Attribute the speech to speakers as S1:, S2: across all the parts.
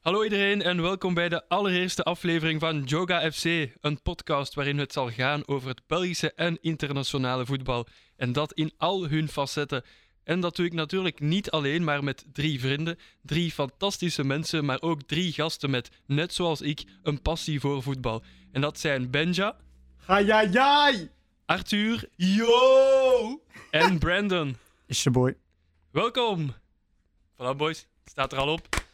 S1: Hallo iedereen en welkom bij de allereerste aflevering van Joga FC, een podcast waarin het zal gaan over het Belgische en internationale voetbal. En dat in al hun facetten. En dat doe ik natuurlijk niet alleen, maar met drie vrienden, drie fantastische mensen, maar ook drie gasten met, net zoals ik, een passie voor voetbal. En dat zijn Benja,
S2: Ga jij jij!
S1: Arthur
S2: Yo!
S1: en Brandon.
S3: Is je boy.
S1: Welkom! Voilà boys, het staat er al op.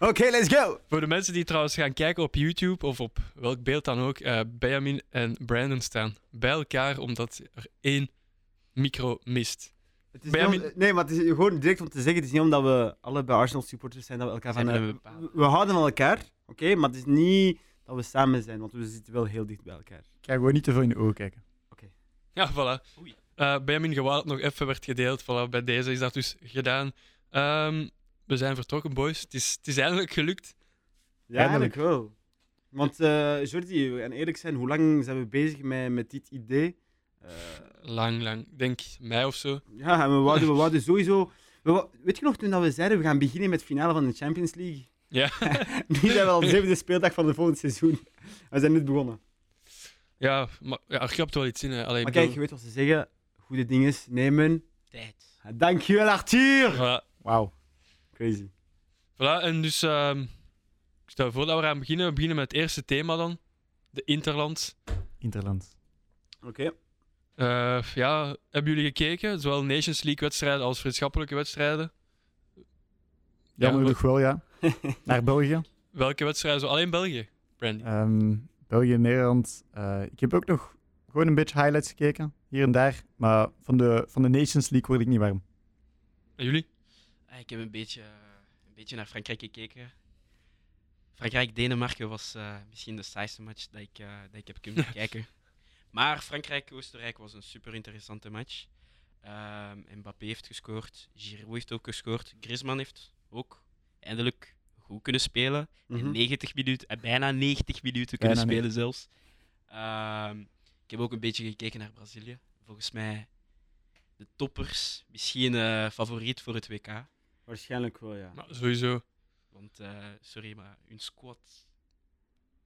S3: Oké, let's go!
S1: Voor de mensen die trouwens gaan kijken op YouTube of op welk beeld dan ook, eh, Benjamin en Brandon staan bij elkaar omdat er één micro mist.
S2: Het is
S1: Benjamin-
S2: niet om- nee, maar het is gewoon direct om te zeggen: het is niet omdat we allebei Arsenal supporters zijn dat we elkaar
S1: Zijn
S2: van.
S1: we
S2: eh,
S1: bepaalde.
S2: we houden van elkaar, oké, maar het is niet dat we samen zijn, want we zitten wel heel dicht bij elkaar.
S3: Kijk, gewoon niet te veel in de ogen kijken.
S1: Ja, voilà. Eh Benjamin Gewaal nog even werd gedeeld. Voilà, bij deze is dat dus gedaan. Ehm, we zijn vertrokken, boys. Het is, het is eindelijk gelukt.
S2: Ja, eigenlijk wel. Want eh, Jordi, we gaan eerlijk zijn, hoe lang zijn we bezig met, met dit idee? Eh,
S1: Lang, lang. Ik Denk mei of zo.
S2: ja, en we wouden, we wouden sowieso. we wou- weet je nog toen dat we zeiden we gaan beginnen met het finale van de Champions League?
S1: Ja.
S2: Die zijn we al de zevende speeldag van het volgende seizoen. We zijn net begonnen.
S1: Ja, maar ja, er grapt wel iets in. Hè. Allee,
S2: Maar
S1: ik
S2: kijk,
S1: bedoel,
S2: je weet wat ze zeggen. Goede dingen nemen. Tijd. Dankjewel, Arthur!
S1: voilà.
S3: Wauw.
S2: Crazy.
S1: Voilà, en dus ehm, ik stel voor dat we gaan beginnen. We beginnen met het eerste thema dan. De Interlands.
S3: Interland.
S2: Oké.
S1: Eh, ja, hebben jullie gekeken? Zowel Nations League-wedstrijden als vriendschappelijke wedstrijden.
S3: Jammer
S1: Ja,
S3: genoeg wel, ja. Naar België.
S1: Welke wedstrijden? Zo alleen België, Brandy.
S3: Ehm, België, Nederland. Eh, ik heb ook nog gewoon een beetje highlights gekeken, hier en daar. Maar van de, van de Nations League word ik niet warm.
S1: En jullie?
S4: Ah, ik heb een beetje, eh, een beetje naar Frankrijk gekeken. Frankrijk-Denemarken was eh, misschien de saaiste match dat ik, eh, dat ik heb kunnen kijken. Maar Frankrijk-Oostenrijk was een super interessante match. Ehm, Mbappé heeft gescoord, Giroud heeft ook gescoord, Griezmann heeft ook eindelijk goed kunnen spelen.
S2: Mhm.
S4: En 90 minuten, eh, bijna 90 minuten kunnen
S3: Bijna
S4: spelen zelfs. Ehm, ik heb ook een beetje gekeken naar Brazilië. Volgens mij de toppers, misschien eh, favoriet voor het WK.
S2: Waarschijnlijk wel, ja.
S1: Maar sowieso.
S4: Want, eh, sorry, maar hun squad.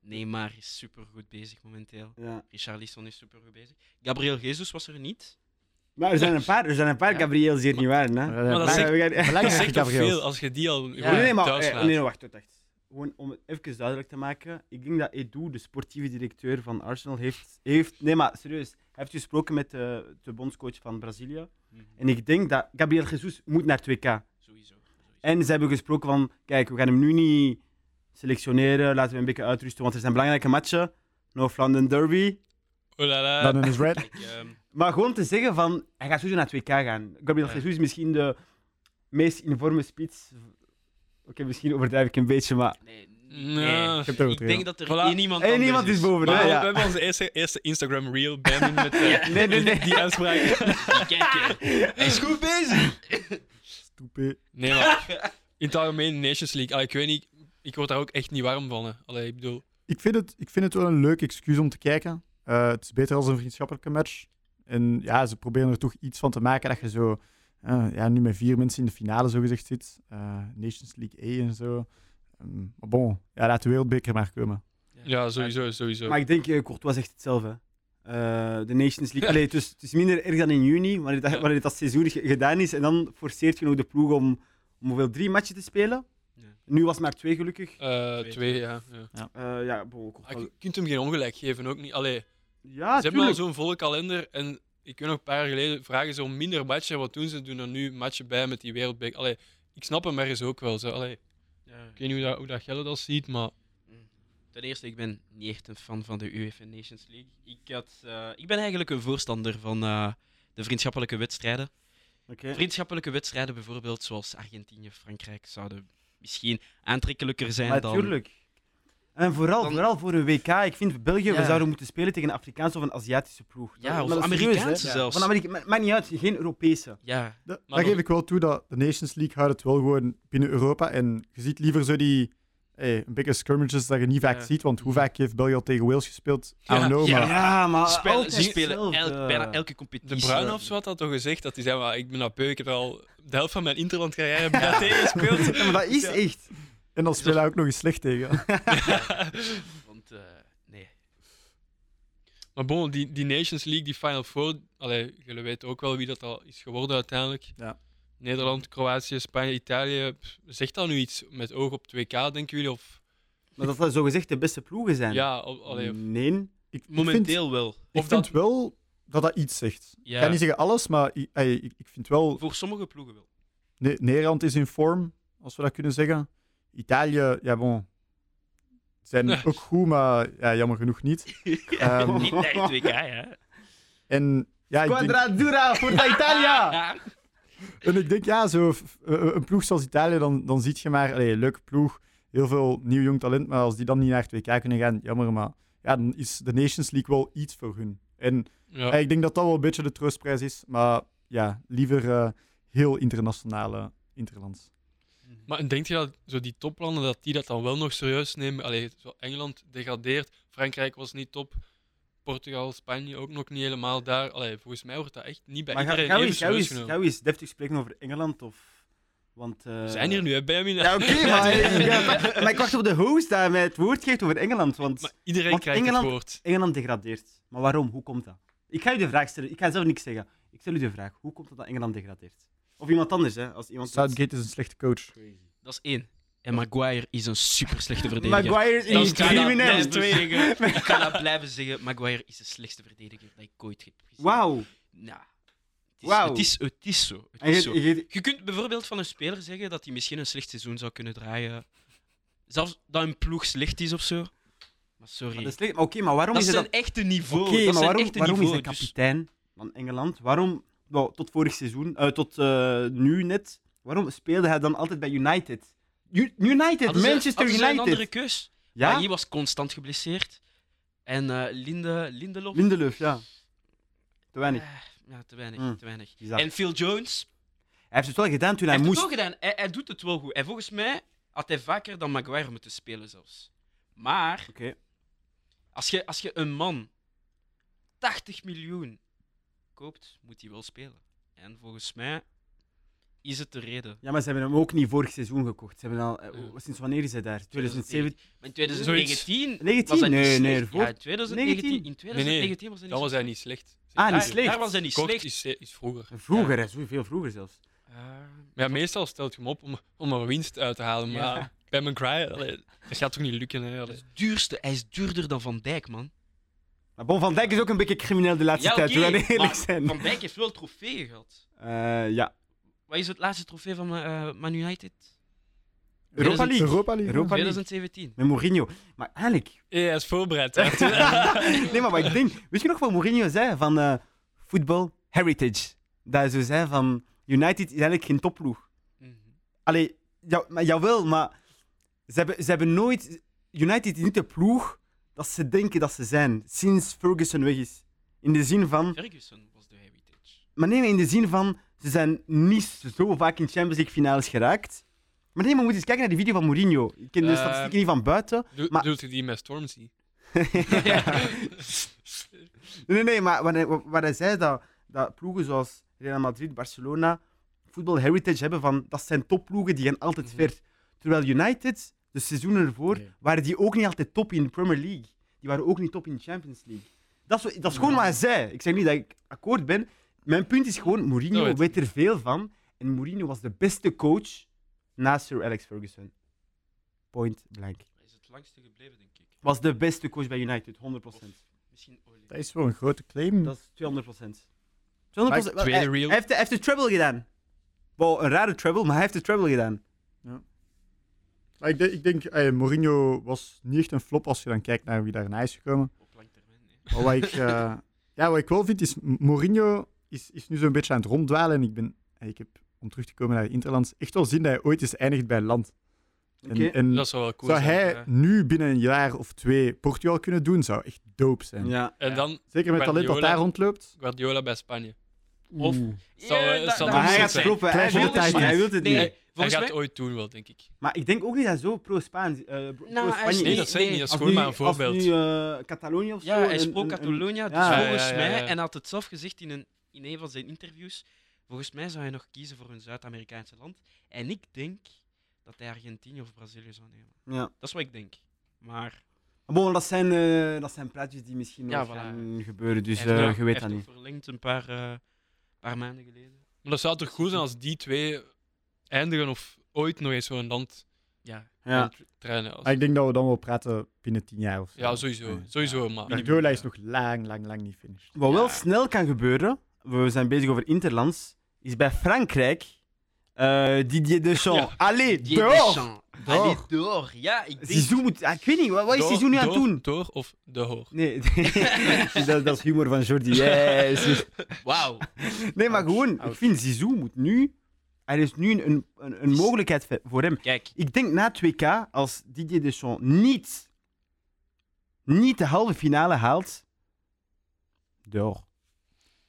S4: Neymar is super goed bezig momenteel.
S2: ja.
S4: Richarlison is super goed bezig. Gabriel Jesus was er niet.
S2: Maar er zijn een paar, er zijn een paar
S4: Ja.
S2: Gabriels die het niet waren, hè?
S3: Maar
S1: dat
S2: Maar
S1: zegt-
S2: we gaan-
S1: Dat
S3: Belangrijk,
S1: zegt toch
S3: Gabriel.
S1: veel als je die al gewoon
S4: Ja.
S2: nee, nee, maar,
S1: thuis
S2: eh,
S1: laat.
S2: nee, nee, wacht, wacht, wacht. Gewoon om het even duidelijk te maken. Ik denk dat Edu, de sportieve directeur van Arsenal, heeft... heeft nee, maar serieus. Hij heeft gesproken met de, de bondscoach van Brazilië.
S4: Mhm.
S2: En ik denk dat Gabriel Jesus moet naar 2K.
S4: Sowieso. sowieso.
S2: En ze hebben gesproken van, kijk, we gaan hem nu niet selectioneren, laten we hem een beetje uitrusten, want er zijn belangrijke matchen. North London Derby.
S1: Oh la la.
S3: London is red.
S4: Ik, ehm,
S2: Maar gewoon te zeggen van, hij gaat sowieso naar 2K gaan. Gabriel
S1: Ja.
S2: Jesus is misschien de meest informe spits. Oké, misschien overdrijf ik een beetje, maar...
S4: nee, nee.
S1: Nee.
S3: heb het
S4: Ik
S3: over, ja.
S4: denk dat er
S1: Voilà.
S4: één iemand
S2: Eén
S4: anders
S2: iemand is boven,
S1: Maar
S2: hè?
S1: we
S2: Ja.
S1: hebben onze eerste, eerste Instagram reel, Benjamin, met eh,
S4: Ja.
S2: Nee, nee, nee.
S1: die uitspraak.
S4: Die kijken. Hij is goed bezig.
S3: Toepie.
S1: Nee, maar in het algemeen Nations League. Allee, ik weet niet, ik word daar ook echt niet warm van. Hè. Allee, ik bedoel,
S3: Ik vind, het, ik vind het wel een leuk excuus om te kijken. Eh, het is beter als een vriendschappelijke match. En ja, ze proberen er toch iets van te maken dat je zo... eh, ja, nu met vier mensen in de finale zogezegd zit. Eh, Nations League A en zo. Ehm, maar bon, ja, laat de wereldbeker maar komen.
S1: ja, sowieso, sowieso.
S2: Maar ik denk, eh, Courtois zegt hetzelfde. hè. Eh, de Nations League. Allee, dus, het is minder erg dan in juni, wanneer dat, wanneer dat seizoen ge- gedaan is. En dan forceert je nog de ploeg om, om hoeveel, drie matchen te spelen.
S4: Ja.
S2: Nu was het maar twee, gelukkig.
S1: Eh,
S4: Twee,
S1: twee, ja. ja.
S2: Eh, ja, bon, Courtois-
S1: Ah, je kunt hem geen ongelijk geven, ook niet. Allee, ze
S2: Ja,
S1: hebben al
S2: Ah, tuurlijk.
S1: zo'n volle kalender en ik weet nog een paar jaar geleden vragen ze om minder matchen. Wat doen ze? Doen er nu matchen bij met die wereldbeker. Allee, ik snap hem ergens ook wel. Zo. Allee,
S4: Ja.
S1: ik weet niet hoe dat, hoe dat Gelle dat ziet, maar
S4: Ten eerste, ik ben niet echt een fan van de UEFA Nations League. Ik, had, eh, ik ben eigenlijk een voorstander van eh, de vriendschappelijke wedstrijden.
S2: Oké.
S4: Vriendschappelijke wedstrijden, bijvoorbeeld zoals Argentinië, Frankrijk, zouden misschien aantrekkelijker zijn dan.
S2: Natuurlijk. En vooral,
S4: Dan-
S2: vooral voor een WK. Ik vind België, we
S4: Ja.
S2: zouden moeten spelen tegen een Afrikaanse of een Aziatische ploeg.
S4: Ja,
S2: Maar
S4: of
S2: dat is
S4: Amerikaanse
S2: serieus, hè.
S4: zelfs.
S2: Van Amerika, ma- maakt niet uit, geen Europese.
S4: Ja,
S3: Da-
S1: nog-
S3: daar geef ik wel toe dat de Nations League houdt het wel gewoon binnen Europa. En je ziet liever zo die hey, een beetje skirmishes dat je niet vaak
S4: Ja.
S3: ziet, want hoe vaak heeft België al tegen Wales gespeeld? I don't
S1: Ja.
S3: know,
S4: Ja.
S3: maar...
S2: Ja, maar
S4: Spel-
S2: Ah, altijd
S4: ze spelen elk,
S2: hetzelfde.
S4: bijna elke
S1: De
S4: competitie.
S1: Bruinhofs wat had toch gezegd dat hij zei: maar, Ik ben nou peu, ik heb al de helft van mijn Interland-carrière bij AT gespeeld.
S2: Ja, maar dat is echt.
S3: En dan spelen we ook nog eens slecht tegen.
S4: Want, eh, nee.
S1: Maar bon, die, die Nations League, die Final Four, allee, jullie weten ook wel wie dat al is geworden uiteindelijk.
S3: Ja.
S1: Nederland, Kroatië, Spanje, Italië. Pff, Zegt dat nu iets met oog op 2K, denken jullie? Of,
S2: Maar dat dat zogezegd de beste ploegen zijn.
S1: ja, al- allee,
S2: Mm.
S1: of-
S2: Nee.
S3: Ik, ik vind, ik
S4: Momenteel wel.
S1: of
S3: vind
S1: dat-
S3: wel dat dat iets zegt.
S4: Ja.
S3: Ik ga niet zeggen alles, maar i- ey, ik, ik vind wel...
S4: Voor sommige ploegen wel.
S3: Ne- Nederland is in vorm, als we dat kunnen zeggen. Italië, ja bon... Zijn
S1: Ja.
S3: ook goed, maar ja, jammer genoeg niet. Ehm,
S4: Niet naar het WK, hè.
S3: en ja, ik denk,
S2: Quadratura voor Italia!
S4: Ja.
S3: en ik denk, ja, zo, f- eh, een ploeg zoals Italië, dan, dan zie je maar... Allee, leuke ploeg, heel veel nieuw jong talent, maar als die dan niet naar het WK kunnen gaan, jammer, maar... Ja, dan is de Nations League wel iets voor hun. En
S1: ja.
S3: Ja, ik denk dat dat wel een beetje de troostprijs is. Maar ja, liever eh, heel internationale Interlands.
S1: Maar denk je dat zo die toplanden dat die dat dan wel nog serieus nemen? Allee, zo Engeland degradeert, Frankrijk was niet top, Portugal, Spanje ook nog niet helemaal daar. Allee, volgens mij wordt dat echt niet bij
S2: Maar ga,
S1: iedereen
S2: ga,
S1: even
S2: eens, ga,
S1: serieus
S2: eens,
S1: genomen.
S2: ga eens deftig spreken over Engeland of... Want, eh,
S1: We zijn hier nu, hè, Benjamin?
S2: Ja, oké, maar, ja, maar, maar ik wacht op de host die mij het woord geeft over Engeland. Want
S1: Maar iedereen
S2: Want
S1: krijgt
S2: Engeland-
S1: het woord.
S2: Engeland degradeert. Maar waarom? Hoe komt dat? Ik ga u de vraag stellen. Ik ga zelf niks zeggen. Ik stel u de vraag. Hoe komt het dat Engeland degradeert? Of iemand anders, hè? Als iemand
S3: Southgate is een slechte coach.
S4: Dat is één. En Maguire is een super slechte verdediger.
S2: Maguire
S4: Dat
S2: is een
S4: kan ik
S2: crimineel.
S4: blijven zeggen. Ik kan dat blijven zeggen. Maguire is de slechtste verdediger dat ik ooit heb gezien.
S2: Wauw.
S4: Nou, het, is,
S2: Wauw.
S4: het, is, het is zo. Het
S2: En
S4: is
S2: je-
S4: zo.
S2: je-
S4: Je kunt bijvoorbeeld van een speler zeggen dat hij misschien een slecht seizoen zou kunnen draaien. Zelfs dat een ploeg slecht is of zo. Maar
S2: Maar
S4: sorry.
S2: dat is slecht. Maar Oké, maar waarom
S4: dat
S2: is
S4: is
S2: dat...
S4: een echte niveau.
S2: Oké,
S4: dat
S2: maar
S4: zijn
S2: waarom,
S4: echte
S2: waarom is hij
S4: niveau, dus-
S2: kapitein van Engeland? Waarom, nou, tot vorig seizoen, eh, tot eh, nu net, waarom speelde hij dan altijd bij United? U- United,
S4: Hadden ze-
S2: Manchester
S4: hadden ze een
S2: United.
S4: andere Ah, keus. Ja?
S2: Ja,
S4: hij was constant geblesseerd. En eh, Linde, Lindelof.
S2: Lindelöf, ja. Te weinig.
S4: Eh, ja, te weinig.
S2: Mm.
S4: Te weinig.
S2: Bizar.
S4: En Phil Jones.
S2: Hij heeft het wel gedaan toen hij,
S4: hij heeft
S2: moest.
S4: het wel gedaan. Hij, hij doet het wel goed. En volgens mij had hij vaker dan Maguire moeten spelen zelfs. Maar
S2: Oké.
S4: als je, als je een man 80 miljoen koopt, moet hij wel spelen. En volgens mij is het de reden.
S2: Ja, maar ze hebben hem ook niet vorig seizoen gekocht. Ze hebben al, eh,
S4: Mm.
S1: Ja.
S2: sinds wanneer is hij daar? 2017?
S4: Maar in 2019 was
S2: 19?
S4: hij niet
S2: Nee,
S4: slecht.
S2: nee,
S4: ja,
S2: ervoor.
S4: in 2019, in 2019 was hij niet
S1: Dan was hij
S4: slecht.
S1: niet slecht.
S2: Ah, niet
S4: Daar-
S2: slecht.
S4: Daar was hij niet
S1: Kort
S4: slecht.
S1: Is, eh, is vroeger.
S2: Vroeger, hè, zo veel vroeger zelfs.
S4: Eh,
S1: Maar ja, meestal stelt je hem op om, om er winst uit te halen. Maar
S2: Ja.
S1: bij McGuire, allee, dat gaat toch niet lukken? Hè,
S4: Dat
S1: allee.
S4: is het duurste. Hij is duurder dan Van Dijk, man.
S2: Maar Bon van Dijk is ook een beetje crimineel de laatste
S4: Ja,
S2: tijd,
S4: oké,
S2: laten we eerlijk
S4: maar
S2: zijn.
S4: Van Dijk heeft wel trofeeën gehad.
S2: Eh, ja,
S4: Wat is het laatste trofee van eh, Man United?
S3: Europa League. Europa League.
S2: Europa League.
S4: 2017.
S2: met Mourinho. Maar eigenlijk,
S1: Ja, hij is voorbereid. hè. Ja.
S2: Nee, maar wat ik denk. Weet je nog wat Mourinho zei van eh, voetbal heritage? Dat hij zo zei van United is eigenlijk geen topploeg.
S4: Mhm.
S2: Allee, ja, maar, jawel, maar ze hebben, ze hebben nooit. United is niet de ploeg dat ze denken dat ze zijn sinds Ferguson weg is. In de zin van.
S4: Ferguson was de heritage.
S2: Maar nee, maar in de zin van. Ze zijn niet zo vaak in Champions League finales geraakt. Maar nee, maar moet eens kijken naar die video van Mourinho. Ik ken de
S4: Eh,
S2: statistieken niet van buiten.
S1: Doe-
S2: Maar-
S1: Doet hij die met Stormzy?
S2: Nee, nee, nee, maar wat hij, wat hij zei, dat, dat ploegen zoals Real Madrid, Barcelona, voetbal heritage hebben van, dat zijn topploegen, die gaan altijd
S4: Mhm.
S2: ver. Terwijl United, de seizoenen ervoor,
S3: Nee.
S2: waren die ook niet altijd top in de Premier League. Die waren ook niet top in de Champions League. Dat is, wa- dat is gewoon wat hij zei. Ik zeg niet dat ik akkoord ben. Mijn punt is gewoon, Mourinho
S1: Dat weet
S2: weet er veel van. En Mourinho was de beste coach naast Sir Alex Ferguson. Point blank.
S4: Hij is het langste gebleven, denk ik.
S2: Was de beste coach bij United, 100%.
S4: Misschien Ole.
S3: Dat is wel een grote claim.
S2: Dat is 200 procent. 200
S3: Hm. Maar
S1: tweede
S2: hij,
S1: reel.
S2: hij heeft de, hij heeft de treble gedaan. Wel, een rare treble, maar hij heeft de treble gedaan.
S3: Maar ik, de- ik denk, eh, Mourinho was niet echt een flop als je dan kijkt naar wie daarna is gekomen.
S4: Op lang termijn, nee.
S3: Maar wat ik, eh, ja, wat ik wel vind is, M- Mourinho is, is nu zo'n beetje aan het ronddwalen. En ik, ben, en ik heb, om terug te komen naar het Interlands, echt wel zin dat hij ooit eens eindigt bij een land. En,
S2: Oké.
S3: en
S1: Dat zou wel cool
S3: zou
S1: zijn.
S3: hij
S4: ja.
S3: nu binnen een jaar of twee Portugal kunnen doen, zou echt dope zijn.
S2: Ja.
S1: En
S4: Ja.
S1: dan
S3: Zeker met het talent dat
S1: Guardiola.
S3: daar rondloopt.
S1: Guardiola bij Spanje.
S4: Of-
S2: Oeh.
S1: Zal, eh,
S4: Ja, dat-
S1: zal
S4: dat-
S1: hem
S2: Maar hij
S1: zitten.
S2: gaat kloppen. Hij
S3: Clash
S2: wil
S3: of the
S2: het niet.
S3: Titans.
S2: Hij wil het
S4: Nee,
S2: niet.
S1: Hij
S4: volgens
S1: gaat
S4: mij-
S1: het ooit doen wel, denk ik.
S2: Maar ik denk ook niet dat zo pro-Spaans eh, pro-
S4: Nou, hij is-
S2: pro-Spanje
S1: Nee,
S2: is.
S1: dat zijn niet. Dat is
S2: Als
S1: gewoon
S2: nu-
S1: maar een voorbeeld.
S2: Als nu eh, Catalonië of
S4: Ja,
S2: zo.
S4: hij
S2: een-
S4: sprak
S2: een- een-
S4: Catalonia, dus
S2: ja. Ja,
S4: volgens
S1: ja, ja,
S4: mij,
S1: ja.
S4: en had het zelf gezegd in een, in een van zijn interviews, volgens mij zou hij nog kiezen voor een Zuid-Amerikaanse land. En ik denk dat hij Argentinië of Brazilië zou nemen.
S2: ja. Dus,
S4: Dat is wat ik denk. Maar
S2: Maar Bon, dat zijn, eh, dat zijn praatjes die misschien
S4: Ja,
S2: nog
S4: voilà.
S2: gaan gebeuren, dus
S4: hij heeft
S2: eh, je
S4: nog- hij
S2: weet
S4: heeft
S2: dat
S4: nog
S2: niet.
S4: verlengd een paar, eh, paar maanden geleden.
S1: Maar dat zou toch goed zijn als die twee eindigen of ooit nog eens zo'n land
S4: Ja,
S2: Ja.
S1: gaan tra- trainen. Als...
S3: Maar ik denk dat we dan wel praten binnen tien jaar of zo.
S1: Ja, sowieso.
S3: Ja.
S1: Sowieso,
S4: Ah,
S3: Maar
S1: maar...
S3: de doorlijst is nog lang, lang, lang niet finished.
S2: Wat wel
S1: Ja.
S2: snel kan gebeuren, we zijn bezig over Interlands, is bij Frankrijk eh, Didier Deschamps.
S1: Ja.
S2: Allee,
S4: Didier
S2: door!
S4: Deschamps. Allee, door. Ja, ik denk...
S2: Zizou moet... ah, Ik weet niet, wat, wat is
S1: Door-
S2: Zizou nu aan het
S1: door-
S2: doen?
S1: Door of de hoor.
S2: Nee, dat, dat is humor van Jordi. Yes.
S4: Wauw.
S2: Nee, maar gewoon, ik
S3: ouch.
S2: vind Zizou moet nu... Er is nu een, een, een, een mogelijkheid ve- voor hem.
S4: Kijk,
S2: Ik denk na het WK, als Didier Deschamps niet, niet de halve finale haalt. Door.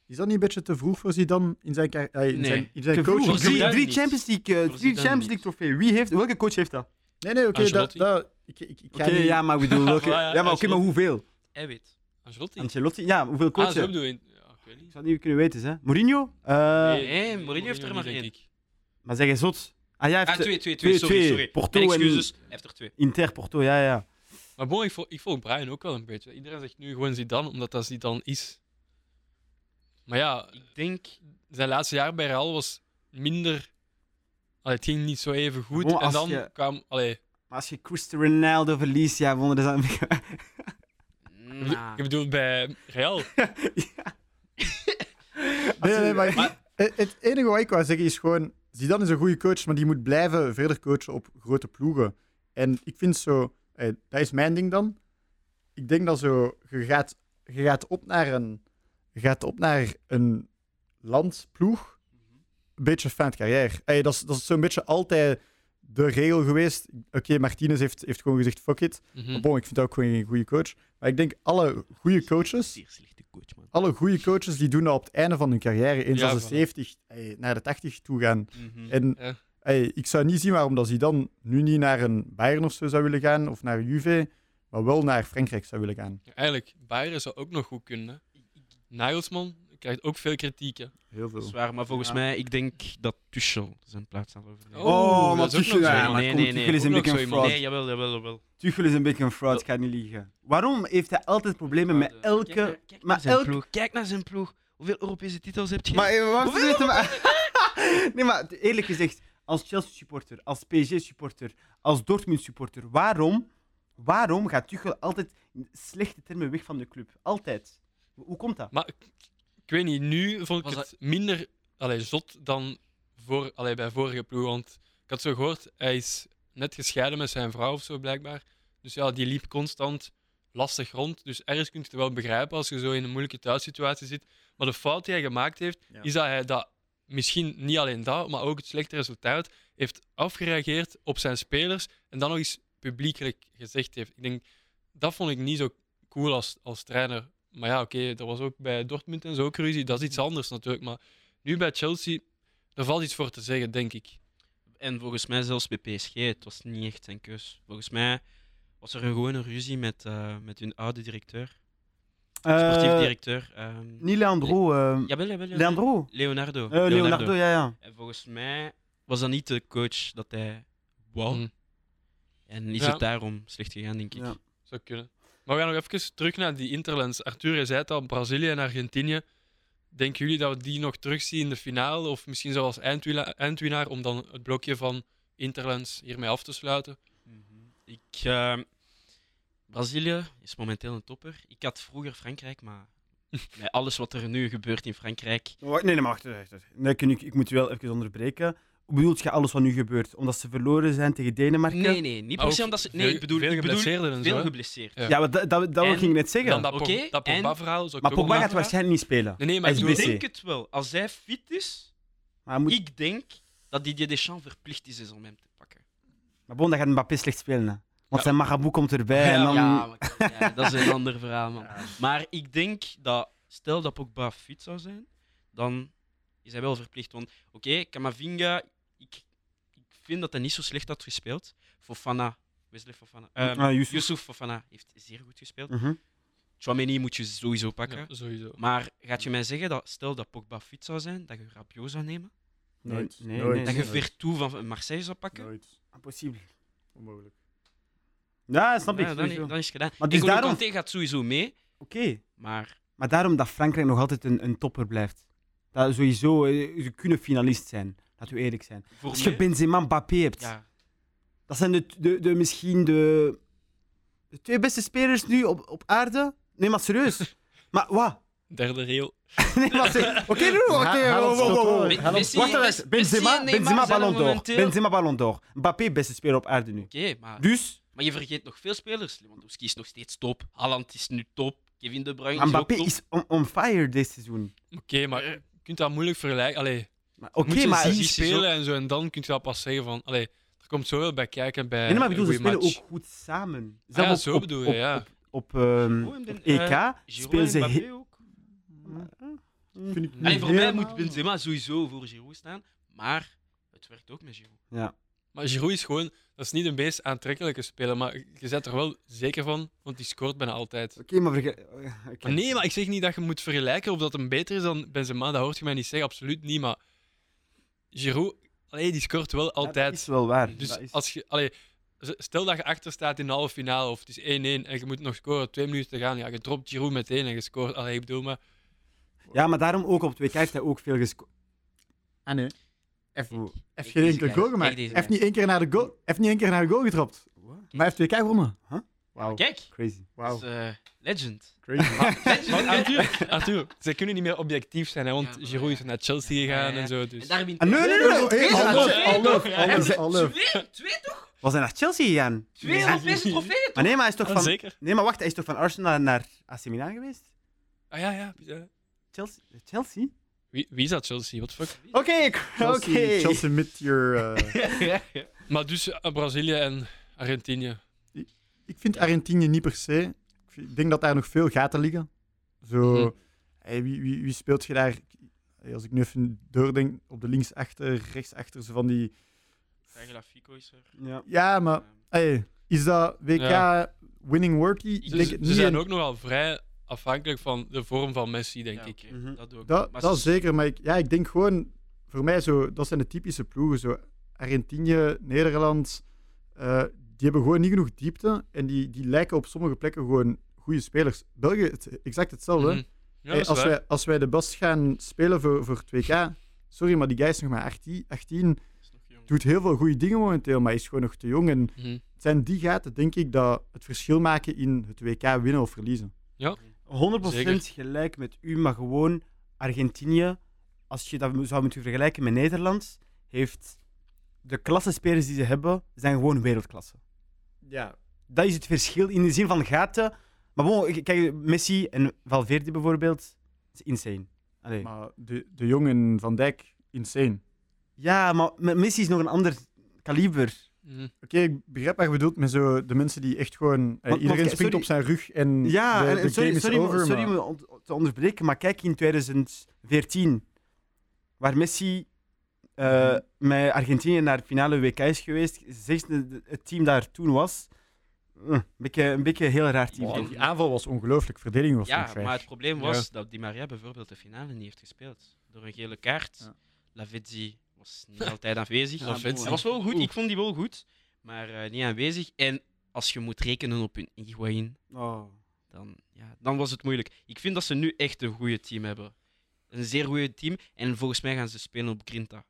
S3: Is dat niet een beetje te vroeg voor Zidane in zijn, car- eh, in
S4: Nee.
S3: zijn, in
S2: Te
S3: zijn
S2: vroeg.
S3: coaching?
S4: Voor
S2: Drie,
S4: Zidane
S2: drie
S4: niet.
S2: Champions League, eh, drie
S4: Voor Zidane
S2: Champions League
S4: niet.
S2: trofee. Wie heeft, welke coach heeft dat?
S3: Nee, nee, oké.
S4: Ah,
S3: dat,
S1: Ancelotti.
S3: dat, ik, ik, ik
S2: Oké,
S3: ga niet-
S2: ja, maar ik bedoel, welke-
S1: Ja, ja,
S2: ja, maar oké, maar
S1: Ancelotti.
S2: hoeveel?
S4: hij weet.
S1: Ancelotti.
S2: Ancelotti? Ja, hoeveel
S1: Ah,
S2: coaches?
S1: zo
S2: Ik
S1: bedoel je. Ja, ik weet niet.
S2: zou het niet kunnen weten, hè? Mourinho? Eh,
S4: Nee, Mourinho heeft er
S1: niet,
S4: maar
S1: denk
S4: één.
S1: ik.
S2: Maar zeg eens zot. Ah, jij heeft
S4: Ah, twee, twee, twee.
S2: twee,
S4: Sorry,
S2: twee.
S4: sorry.
S2: Porto
S4: Mijn
S2: en-
S4: excuses. Hij heeft er twee.
S2: Inter Porto, ja, ja.
S1: Maar bon, ik volg, ik volg Brian ook wel een beetje. Iedereen zegt nu gewoon Zidane, omdat dat Zidane is. Maar ja,
S4: Ik denk...
S1: zijn laatste jaar bij Real was minder... Allee, het ging niet zo even goed.
S2: Bon,
S1: en
S2: als
S1: dan
S2: je-
S1: kwam... Allee,
S2: Maar als je Cristiano Ronaldo verliest, ja, dus wonder dat is aan-
S4: Nah. Nou.
S1: ik bedoel, bij Real.
S3: Nee, nee, maar, het, het enige wat ik wou zeggen is gewoon... Zidane is een goede coach, maar die moet blijven verder coachen op grote ploegen. En ik vind zo... eh, dat is mijn ding dan. Ik denk dat zo... Je gaat, je gaat, op, naar een, je gaat op naar een landsploeg. Een beetje fin de carrière. Eh, dat, is, dat is zo'n beetje altijd de regel geweest. Oké, Martinez heeft, heeft gewoon gezegd fuck it.
S1: Mhm.
S3: Maar Bon, ik vind dat ook gewoon geen goede coach. Maar ik denk alle goede coaches
S4: Zeer slechte coach, man.
S3: alle goede coaches die doen dat op het einde van hun carrière, eens
S1: Ja,
S3: als
S1: voilà.
S3: ze 70 ey, naar de 80 toe gaan.
S4: Mhm.
S3: En
S1: Ja.
S3: ey, ik zou niet zien waarom dat hij dan nu niet naar een Bayern of zo zou willen gaan, of naar Juve, maar wel naar Frankrijk zou willen gaan.
S1: Eigenlijk, Bayern zou ook nog goed kunnen. hè. Nagelsman krijgt ook veel kritiek. Hè.
S3: Heel
S4: Dat is waar, maar volgens
S2: Ja.
S4: mij, ik denk dat Tuchel zijn plaats zal overnemen.
S1: Oh, dat
S2: maar
S1: is ook nog
S2: Tuchel,
S1: zo
S2: ja,
S1: iemand.
S2: maar
S4: Nee,
S2: kom,
S4: nee,
S2: Tuchel
S4: nee,
S2: is
S1: ook
S2: een
S1: nog
S2: beetje
S1: zo
S2: een
S1: iemand.
S2: fraud.
S4: Nee, jawel, jawel, jawel.
S2: Tuchel is een beetje een fraud, ik ga niet liegen. Waarom heeft hij altijd problemen met
S4: Kijk naar-
S2: elke...
S4: kijk
S2: maar
S4: naar zijn
S2: elk-
S4: ploeg. Kijk naar zijn ploeg. Hoeveel Europese titels heb je?
S2: Maar eh, wacht eens even, maar- Nee, maar eerlijk gezegd, als Chelsea-supporter, als PSG-supporter, als Dortmund-supporter, waarom, waarom gaat Tuchel altijd in slechte termen weg van de club? Altijd. Hoe komt dat?
S1: Maar ik, ik weet niet, nu vond ik
S4: Was
S1: het minder allee, zot dan voor, allee, bij vorige ploeg. Want ik had zo gehoord, hij is net gescheiden met zijn vrouw of zo blijkbaar. Dus ja, die liep constant lastig rond. Dus ergens kun je het wel begrijpen als je zo in een moeilijke thuissituatie zit. Maar de fout die hij gemaakt heeft,
S3: Ja.
S1: is dat hij dat misschien niet alleen dat, maar ook het slechte resultaat heeft afgereageerd op zijn spelers en dan nog eens publiekelijk gezegd heeft. Ik denk, dat vond ik niet zo cool als, als trainer. Maar ja, oké, er was ook bij Dortmund en zo ook ruzie. Dat is iets anders natuurlijk. Maar nu bij Chelsea, daar valt iets voor te zeggen, denk ik.
S4: En volgens mij zelfs bij PSG, het was niet echt zijn keus. Volgens mij was er gewoon een ruzie met, eh, met hun oude directeur. Sportief
S2: Eh,
S4: directeur. ehm
S2: Niet Leandro. eh,
S4: jawel, jawel, jawel.
S2: Leandro?
S4: Leonardo.
S2: Eh, Leonardo, ja, ja.
S4: En volgens mij was dat niet de coach dat hij wou.
S1: Hm,
S4: En is
S1: Ja.
S4: het daarom slecht gegaan, denk ik.
S2: Ja.
S1: zou kunnen. Maar we gaan nog even terug naar die Interlands. Arthur, je zei het al, Brazilië en Argentinië. Denken jullie dat we die nog terugzien in de finale? Of misschien zelfs eindwila- eindwinnaar, om dan het blokje van Interlands hiermee af te sluiten?
S4: Ik, eh, Brazilië is momenteel een topper. Ik had vroeger Frankrijk, maar met alles wat er nu gebeurt in Frankrijk.
S2: Oh, Nee, nee, maar wacht. wacht, wacht. Nee, kun ik, ik moet u wel even onderbreken. Hoe bedoelt je alles wat nu gebeurt? Omdat ze verloren zijn tegen Denemarken?
S4: Nee, nee, niet
S1: Maar
S4: per se
S1: ook
S4: omdat ze. Nee,
S1: veel-
S4: ik bedoel,
S1: veel
S4: ik bedoel
S1: geblesseerden en zo.
S4: veel
S1: hè?
S4: geblesseerd.
S1: Ja.
S2: Ja, maar dat, dat, dat
S4: En-
S2: ging ik net zeggen.
S1: Dan dat,
S4: Oké,
S1: Pog- dat
S4: en-
S1: Pogba-verhaal. zou ik
S2: maar
S1: ook
S2: Pogba
S1: nog-
S2: gaat waarschijnlijk niet spelen.
S1: Nee, nee, maar
S2: Hij is
S1: ik
S4: Ik
S1: bedoel-
S2: BC.
S4: denk het wel. Als hij fit is,
S2: Maar, hij moet,
S4: ik denk dat Didier Deschamps verplicht is om hem te pakken.
S2: maar bon, dan gaat Mbappé slecht spelen. hè. Want zijn Marabou komt erbij.
S1: Ja,
S2: en dan...
S4: Ja, maar- ja, dat is een ander verhaal, man. Maar ik denk dat, stel dat Pogba fit zou zijn, dan is hij wel verplicht. Want oké, Kamavinga, ik, ik vind dat hij niet zo slecht had gespeeld. Fofana, Wesley Fofana. ehm,
S2: Ah, Yusuf.
S4: Yusuf Fofana heeft zeer goed gespeeld.
S2: Mhm.
S4: Chouameni moet je sowieso pakken.
S1: Ja, sowieso.
S4: Maar gaat je mij zeggen dat stel dat Pogba fit zou zijn, dat je Rabiot zou nemen?
S2: Nee,
S3: Nooit.
S2: nee,
S3: Nooit.
S2: nee,
S4: Dat je
S2: nee.
S4: Vertu van Marseille zou pakken?
S3: Nooit.
S2: Impossible.
S3: Onmogelijk.
S2: Ja, snap ik.
S4: Ja, dan,
S2: sowieso.
S4: dan is het gedaan.
S2: Maar
S4: Maar
S2: dus daarom-
S4: Conte gaat sowieso mee,
S2: Oké.
S4: maar
S2: Maar daarom dat Frankrijk nog altijd een, een topper blijft. Dat sowieso, eh, ze kunnen finalist zijn. Laten we eerlijk zijn.
S4: voor
S2: Als je
S4: mij-
S2: Benzema Mbappé hebt,
S4: Ja,
S2: dat zijn de, de, de, misschien de, de twee beste spelers nu op, op aarde. Nee, maar serieus. maar wat?
S1: Derde rail.
S2: Nee, maar serieus. Oké, doe. Oké,
S3: Ha-
S2: wow, wow, wow, wow.
S3: Messi-
S2: Hallo.
S4: Messi-
S2: Wacht
S4: Messi
S2: even.
S4: en
S2: Benzema,
S4: Neymar
S2: Benzema
S4: zijn er
S2: Ballon d'Or.
S4: momenteel-
S2: Benzema Ballon d'Or. Mbappé, beste speler op aarde nu.
S4: oké, maar,
S2: Dus,
S4: maar je vergeet nog veel spelers. Lewandowski is nog steeds top, Haaland is nu top, Kevin De Bruyne is
S2: Mbappé
S4: ook top.
S2: is on, on fire dit seizoen.
S1: Oké, maar je kunt dat moeilijk vergelijken. Allee,
S2: Maar Oké,
S1: moet je
S2: maar...
S1: zien
S4: precies, is
S1: spelen en zo. En dan kun je dat pas zeggen van... Allee, er komt zoveel bij kijken bij
S2: Nee, nee, maar ik
S1: een
S2: bedoel, ze
S1: goeie
S2: spelen
S1: match.
S2: ook goed samen.
S1: Ah ja,
S2: Zelfs
S1: zo
S2: op,
S1: bedoel je,
S2: op,
S1: ja.
S2: Op, op, ehm,
S4: Gewoon ben-
S2: op EK
S4: eh,
S2: spelen ze... Hm? he-
S4: ook.
S3: Vind ik niet
S4: Allee, voor mij
S3: helemaal.
S4: moet Benzema sowieso voor Giroud staan, maar het werkt ook met Giroud.
S2: Ja.
S1: Maar Giroud is gewoon... Dat is niet de meest aantrekkelijke speler, maar je bent er wel zeker van, want die scoort bijna altijd.
S2: Oké, maar vergeet...
S1: Maar nee, maar ik zeg niet dat je moet vergelijken of dat hem beter is dan Benzema. Dat hoort je mij niet zeggen, absoluut niet. Maar Giroud, allee, die scoort wel
S2: Dat is
S1: altijd.
S2: wel waar.
S1: Dus
S2: Dat is-
S1: als je, allee, z- stel dat je achter staat in de halve finale of het is 1-1 en je moet nog scoren, twee minuten te gaan. Ja, je dropt Giroud meteen en je scoort. Allee, ik bedoel, maar
S2: Ja, maar daarom ook op het WK heeft hij ook veel gescoord.
S3: Ah nee. Heeft
S4: Kijk,
S3: heeft
S4: kijk
S3: geen
S4: deze
S3: enkele
S4: guy,
S3: goal
S4: kijk
S3: gemaakt.
S4: deze
S3: Heeft
S4: guy.
S3: niet één keer naar de goal, heeft niet één keer naar de goal getrapt. Maar heeft 2K gewonnen.
S2: Wauw.
S4: Kijk,
S2: Crazy.
S4: dat
S3: Wauw.
S4: is eh, legend.
S3: Crazy.
S1: Maar Arthur, Arthur, ze kunnen niet meer objectief zijn, hè, want
S4: Ja, maar
S1: Giroud is
S4: ja.
S1: naar Chelsea
S4: Ja, maar
S1: gegaan
S4: ja.
S1: en zo. Dus.
S4: En daar wint
S2: Ah, nee, nee, nee.
S3: Oh, hey,
S2: Twee
S3: I
S4: goals.
S3: love, I love, I
S4: Hij
S3: love,
S2: heeft
S3: I love.
S4: twee, twee toch?
S2: Was hij naar Chelsea gegaan?
S4: Twee Europese trofeeën
S2: Maar nee, maar hij is toch
S1: Ah,
S2: van...
S1: Zeker.
S2: Nee, maar wacht, hij is toch van Arsenal naar AC Milan geweest?
S1: Ah ja, ja. ja.
S2: Chelsea? Chelsea?
S1: Wie, wie is dat Chelsea? What the fuck?
S2: Oké, oké.
S3: Chelsea, Chelsea mid your... eh,
S1: Maar dus eh, Brazilië en Argentinië.
S3: ik vind Argentinië niet per se. Ik vind- Ik denk dat daar nog veel gaten liggen. Zo,
S1: Mhm.
S3: hey, wie, wie, wie speelt je daar? Hey, Als ik nu even doordenk, op de linksachter, rechtsachter, zo van die...
S4: Fico is er.
S2: Ja.
S3: Ja, maar
S4: Ehm,
S3: hey, is dat WK
S1: Ja.
S3: winning worthy? Ik
S1: Ze,
S3: denk het
S1: ze
S3: niet.
S1: zijn
S3: En
S1: ook nogal vrij afhankelijk van de vorm van Messi, denk
S4: ja,
S1: ik.
S4: oké,
S2: Mhm.
S4: Dat doe ik.
S3: Dat,
S4: Maar
S3: dat
S4: ze-
S3: zeker, maar ik, ja, ik denk gewoon... Voor mij, zo, dat zijn de typische ploegen. Zo, Argentinië, Nederland, eh, die hebben gewoon niet genoeg diepte. En die, die lijken op sommige plekken gewoon goede spelers. België, het, exact hetzelfde. hè.
S1: Mhm. Ja,
S3: Hey,
S1: dat is
S3: als,
S1: waar.
S3: wij, als wij de best gaan spelen voor, voor 2K, sorry, maar die guy is nog maar 18, 18,
S4: is nog jong.
S3: doet heel veel goede dingen momenteel, maar is gewoon nog te jong. En
S1: Mhm.
S3: het zijn die gaten, denk ik, dat het verschil maken in het WK winnen of verliezen.
S2: 100%
S1: Zeker.
S2: gelijk met u, maar gewoon Argentinië, als je dat mo- zou moeten vergelijken met Nederland, heeft de klassenspelers die ze hebben, zijn gewoon wereldklasse.
S3: Ja.
S2: Dat is het verschil in de zin van gaten. Maar bon, k- kijk, Messi en Valverde bijvoorbeeld, dat is insane. Allee.
S3: Maar de, de jongen Van Dijk, insane.
S2: Ja, maar met Messi is nog een ander kaliber.
S1: Mhm.
S3: Oké, ik begrijp wat je bedoelt met zo de mensen die echt gewoon... eh,
S2: Want-
S3: iedereen
S2: want-
S3: springt
S2: sorry.
S3: op zijn rug en
S2: Ja,
S3: de,
S2: en,
S3: de
S2: en sorry,
S3: game is
S2: sorry, om-
S3: over.
S2: sorry
S3: maar-
S2: om on- te onderbreken, maar kijk in 2014, waar Messi eh,
S3: Mhm.
S2: met Argentinië naar de finale WK is geweest, zegt de- de- het team daar toen was, eh, een beetje een beetje een heel raar team.
S3: Wow,
S2: vind ik.
S3: die aanval was ongelooflijk, verdediging was
S4: Ja,
S3: gewoon trash.
S4: maar het probleem
S1: Ja.
S4: was dat Di Maria bijvoorbeeld de finale niet heeft gespeeld. Door een gele kaart.
S3: Ja.
S4: Lavezzi was niet altijd aanwezig.
S1: Ja, Lavezzi.
S4: Hij was wel goed,
S1: Oeh.
S4: ik vond die wel goed. Maar eh, niet aanwezig. En als je moet rekenen op hun Higuain,
S2: Oh.
S4: dan, ja, dan was het moeilijk. Ik vind dat ze nu echt een goede team hebben. Een zeer goede team. En volgens mij gaan ze spelen op Grinta.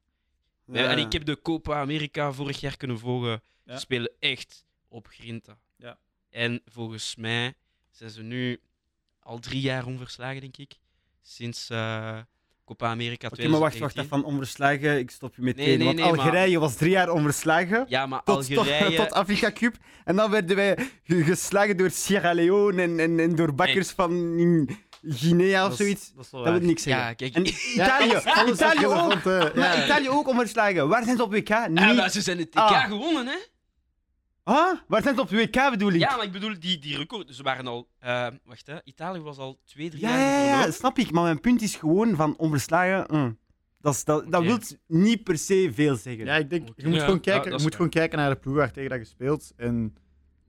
S4: We-
S2: Ja.
S4: en ik heb de Copa America vorig jaar kunnen volgen.
S3: Eh. Ja.
S4: Ze spelen echt op Grinta.
S3: Ja.
S4: En volgens mij zijn ze nu al drie jaar onverslagen, denk ik. Sinds eh, Copa America
S2: Oké, maar wacht, wacht,
S4: 2019.
S2: van onverslagen, ik stop je meteen.
S4: Nee, nee,
S2: want
S4: nee, maar-
S2: Algerije was drie jaar onverslagen.
S4: Ja, maar
S2: Tot, tot,
S4: Algerije...
S2: tot Afrika Cup. En dan werden wij ge- geslagen door Sierra Leone en, en, en door bakkers van in Guinea of zoiets.
S3: Dat is
S2: Dat wil niks zeggen.
S4: ja, kijk.
S2: En Italië, Italië ook. Maar Italië ook onverslagen. Waar zijn ze op WK?
S4: Ah,
S2: Niet.
S4: maar ze zijn het TK
S2: Ah.
S4: gewonnen, hè?
S2: Huh? Waar zijn ze op WK bedoel ik?
S4: Ja, maar ik bedoel, die, die record... Ze waren al... eh, wacht, hè. Italië was al twee, drie
S2: ja,
S4: jaar
S2: ja, ja,
S4: verloren.
S2: snap ik. Maar mijn punt is gewoon van onverslagen. mm. Dat, is- dat, dat
S4: Oké.
S2: wil niet per se veel zeggen.
S3: Ja, ik denk,
S4: Oké.
S3: je moet,
S1: Ja,
S3: gewoon,
S1: ja,
S3: kijken,
S4: dat
S3: je moet
S4: is waar.
S3: gewoon kijken naar de ploeg waar tegen dat je speelt. En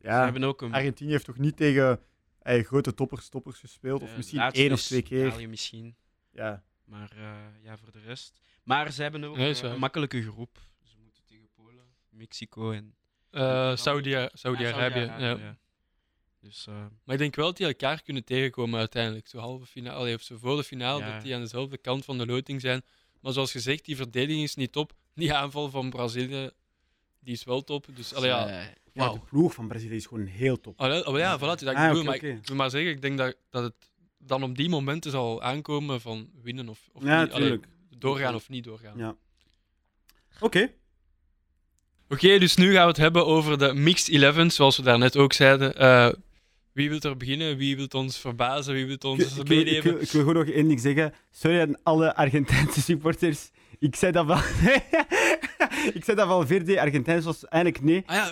S4: Ze
S3: ja,
S4: hebben ook
S2: Ah,
S4: een
S3: Argentinië heeft toch niet tegen eh, grote toppers, toppers gespeeld? Of
S4: eh,
S3: misschien
S4: laatste
S3: één of
S4: is
S3: twee keer.
S4: Italië misschien.
S3: Ja.
S4: Maar eh, ja, voor de rest. Maar ze hebben ook
S1: Nee, is
S4: eh,
S1: waar.
S4: een makkelijke groep. Ze moeten tegen Polen, Mexico en
S1: Eh, Saudi- Saudi-Arabië.
S4: Ah,
S1: ja.
S4: Saudi-Arabië, ja. Dus eh,
S1: Maar ik denk wel dat die elkaar kunnen tegenkomen uiteindelijk. Zo halve finale, allee, of zo voor de finale,
S4: Ja.
S1: dat die aan dezelfde kant van de loting zijn. Maar zoals gezegd, die verdediging is niet top. Die aanval van Brazilië, die is wel top. Dus allee, ja.
S4: eh,
S2: Ja,
S1: wauw.
S2: de ploeg van Brazilië is gewoon heel top.
S1: Allee, allee, ja, voilà, dat ik
S2: Ah,
S1: bedoel,
S2: oké,
S1: maar
S2: oké.
S1: ik wil maar zeggen, ik denk dat, dat het dan op die momenten zal aankomen van winnen of, of
S2: ja,
S1: niet. Allee,
S2: natuurlijk.
S1: doorgaan of niet doorgaan.
S2: Ja. Oké.
S1: Oké, dus nu gaan we het hebben over de Mixed 11, zoals we daarnet ook zeiden. Eh, wie wil er beginnen? Wie wil ons verbazen? Wie wil
S2: Ik,
S1: ons
S2: ik wil- ik, wil,
S1: meenemen?
S2: ik wil gewoon nog één ding zeggen. Sorry aan alle Argentijnse supporters. Ik zei dat wel. ik zei dat wel Verde, Argentijns was eigenlijk nee.
S1: Ah ja,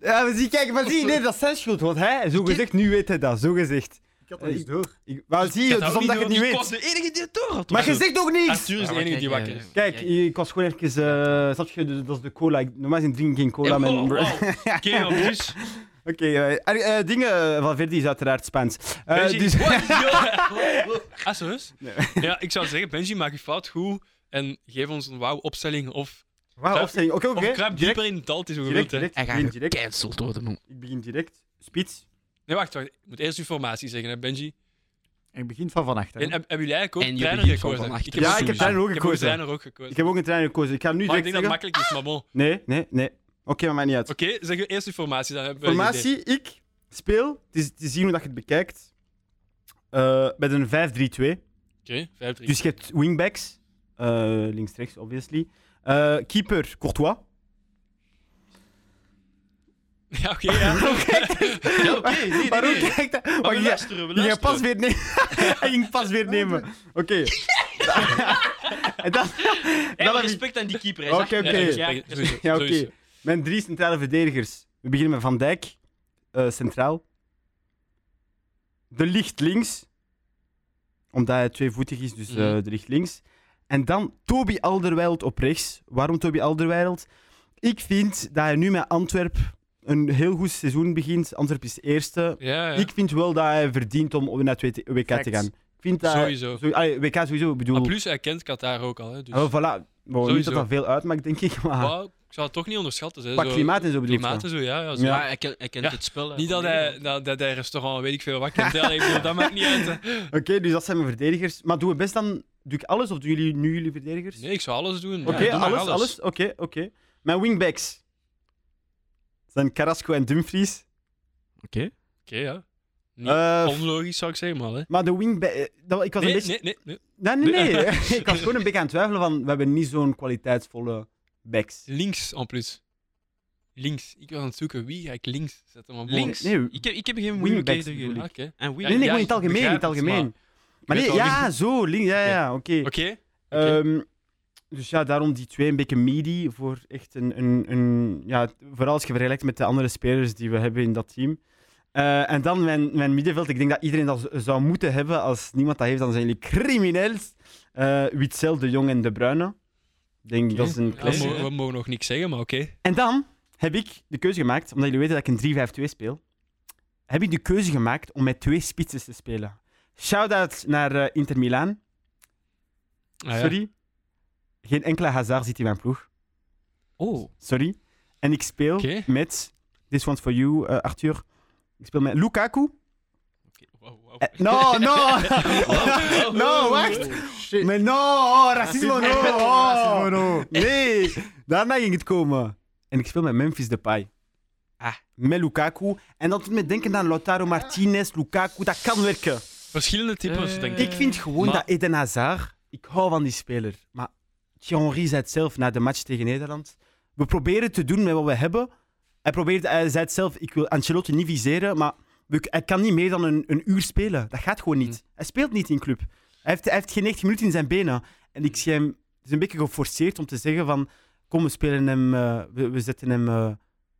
S2: Ja, maar zie, kijk, maar zie, nee, dat is zijn schuld. Want hij, zo gezegd, nu weet hij dat, zo gezegd.
S3: Ik had
S2: dat niet
S3: door.
S2: Ik, maar zie,
S1: Ik
S2: je,
S1: had
S2: het is
S1: ook
S2: omdat je het niet
S1: door. Ik
S2: weet.
S1: was de enige die het door had.
S2: Maar je zegt ook niks!
S1: Arthur is de
S4: maar
S1: enige die
S4: kijk,
S1: wakker
S4: eh,
S1: is.
S2: Kijk, ik was gewoon even... eh snap je, dat is de cola. Ik, normaal gezien drink ik geen cola.
S1: Eh,
S2: mijn-
S1: oh, wauw. Oké, dan dus.
S2: Oké, eh, Ar- eh, dingen van Verdi is uiteraard Spaans. Eh,
S1: Benji,
S2: dus...
S1: what? Yo. Ah, zo is?
S2: Nee.
S1: Ja, ik zou zeggen, Benji, maak je fout goed en geef ons een wauw opstelling. Of,
S2: Wauw, opstelling. Oké, oké.
S1: of kruip
S2: direct,
S1: dieper in het dal, het is hoe je
S2: direct,
S1: wilt, hè.
S2: direct.
S4: hij
S2: Ik
S4: gaat
S2: begin direct.
S4: gecanceld worden, man.
S2: Ik begin direct. Spits.
S1: Nee, wacht, wacht. Ik moet eerst uw formatie zeggen, hè, Benji.
S3: En het begin van vannacht. Hè.
S1: En heb- hebben jullie eigenlijk ook
S4: En
S1: een
S4: jullie
S1: trainer
S4: van
S1: gekozen?
S4: vannacht.
S2: Ja,
S1: ook
S2: ik heb
S1: een-
S2: trainer ook
S1: ik heb
S2: gekozen.
S1: een trainer ook gekozen.
S2: Ik heb ook een trainer gekozen. Ik ga nu
S1: Maar ik
S2: direct
S1: denk dat het
S2: zeggen...
S1: makkelijk is, maar bon.
S2: Nee, nee, nee. Oké, maar maakt niet uit.
S1: Oké, zeg je eerst uw formatie, dan hebben we een idee.
S2: Formatie, ik speel. Het is, het is zien hoe dat je het bekijkt. Eh, met een 5-3-2.
S1: Oké, 5-3.
S2: Dus je hebt wingbacks. eh, Links-rechts, obviously. Eh, keeper, Courtois.
S1: Ja, oké, ja. Ja, oké, nee, nee,
S2: Waarom
S1: nee.
S2: kijkt dat?
S1: Maar
S2: Wacht,
S1: we
S2: je-
S1: luisteren, we
S2: Je ging
S1: luisteren.
S2: Oh, pas weer nemen. Hij ging pas weer nemen. Oké. En dan,
S4: Hey,
S2: dan
S4: maar
S2: heb ik
S4: Eh, respect aan die keeper. hij
S2: Oké,
S4: zag-
S2: oké.
S1: Ja,
S4: Ja,
S1: respect, sowieso,
S2: Ja, oké.
S1: sowieso.
S2: mijn drie centrale verdedigers. We beginnen met Van Dijk, eh, centraal. De licht links, omdat hij tweevoetig is, dus eh,
S1: Mhm.
S2: de licht links. En dan Toby Alderweireld op rechts. Waarom Toby Alderweireld? Ik vind dat hij nu met Antwerp een heel goed seizoen begint. Antwerp is eerste.
S1: Ja, ja.
S2: Ik vind wel dat hij verdient om naar het WK te
S3: Facts.
S2: gaan. Ik vind dat...
S1: Sowieso.
S2: Zo- allee, WK sowieso, ik bedoel...
S1: Maar plus, hij kent Qatar ook al, hè. Dus...
S2: Ah, wel, voilà. Wow, niet
S1: Sowieso.
S2: dat dat veel uitmaakt, denk ik, maar
S1: Wauw, ik zou het toch niet onderschatten. Hè.
S2: qua
S1: zo-
S2: klimaat en zo bedoel ik.
S1: Klimaat en zo, ja. ja, zo.
S4: Ja, hij kent, hij kent
S1: Ja,
S4: het spel. hè,
S1: Niet
S4: van
S1: dat eh, hij, dat,
S4: Nederland.
S1: dat hij restaurant weet ik veel wat kent. hè. Allee, ik bedoel, dat maakt niet uit. hè.
S2: Oké, dus dat zijn mijn verdedigers. Maar doen we best dan... Doe ik alles of doen jullie nu jullie verdedigers?
S1: Nee, ik zou alles doen.
S2: Oké,
S1: Ja, doe maar
S2: alles, alles. Oké, oké. Mijn wingbacks zijn Carrasco en Dumfries.
S1: Oké, ja. Niet
S2: Eh,
S1: Onlogisch zou ik zeggen, maar. Hè.
S2: maar de wingback... eh, dat- Ik was
S1: Nee,
S2: een beetje...
S1: nee, nee, nee.
S2: Nee, nee, nee.
S1: Nee.
S2: ik was gewoon een beetje aan het twijfelen van... We hebben niet zo'n kwaliteitsvolle backs.
S1: Links, en plus. Links. Ik was aan het zoeken wie ga ik links zetten. Maar bon.
S4: Links?
S2: Nee.
S4: ik, heb, ik heb geen
S2: Wingbacks
S4: moeilijkheden.
S2: bedoel
S1: Ah,
S2: ik.
S1: Oké.
S4: En
S1: Ja,
S2: Nee,
S1: ja,
S2: nee, gewoon in het
S1: ik
S2: algemeen, in het
S1: begrijp het,
S2: algemeen. Maar
S1: weet
S2: nee,
S1: wel
S2: ja, zo, links, ja, ja, oké.
S1: Oké.
S2: Ehm
S1: Oké.
S2: Dus ja, daarom die twee een beetje midi voor echt een, een, een ja, vooral als je vergelijkt met de andere spelers die we hebben in dat team. Eh, en dan mijn, mijn middenveld, ik denk dat iedereen dat z- zou moeten hebben. Als niemand dat heeft, dan zijn jullie crimineels. Eh Witzel, De Jong en De Bruyne. Ik denk dat is een
S1: Ja, we,
S2: klasse.
S1: mogen, we mogen nog niks zeggen, maar oké.
S2: En dan heb ik de keuze gemaakt, omdat jullie weten dat ik een 3-5-2 speel, heb ik de keuze gemaakt om met twee spitsen te spelen. Shout-out naar eh, Inter Milaan.
S1: Ah, ja.
S2: Sorry. Geen enkele hazard zit in mijn ploeg.
S1: Oh.
S2: Sorry. En ik speel
S1: Oké.
S2: met. This one's for you, eh, Arthur. Ik speel met Lukaku.
S4: Wow, wow.
S2: Eh, no, no! no, wacht! Maar no, oh, racisme, no!
S3: Oh,
S2: oh.
S3: no.
S2: Nee, daarna ging het komen. En ik speel met Memphis Depay.
S4: Ah.
S2: Met Lukaku. En dat doet me denken aan Lautaro Martinez, Lukaku. Dat kan werken.
S1: Verschillende types,
S4: Eh,
S1: denk ik.
S2: Ik vind gewoon
S1: Maar-
S2: dat Eden Hazard... Ik hou van die speler. Maar Thierry zei het zelf na de match tegen Nederland. We proberen te doen met wat we hebben. Hij, probeert, hij zei het zelf, ik wil Ancelotti niet viseren, maar we- hij kan niet meer dan een, een uur spelen. Dat gaat gewoon niet. Hij speelt niet in club. Hij heeft, hij heeft geen 90 minuten in zijn benen. En ik zie hem... Het is een beetje geforceerd om te zeggen van... Kom, we spelen hem... eh, we, we zetten hem... eh,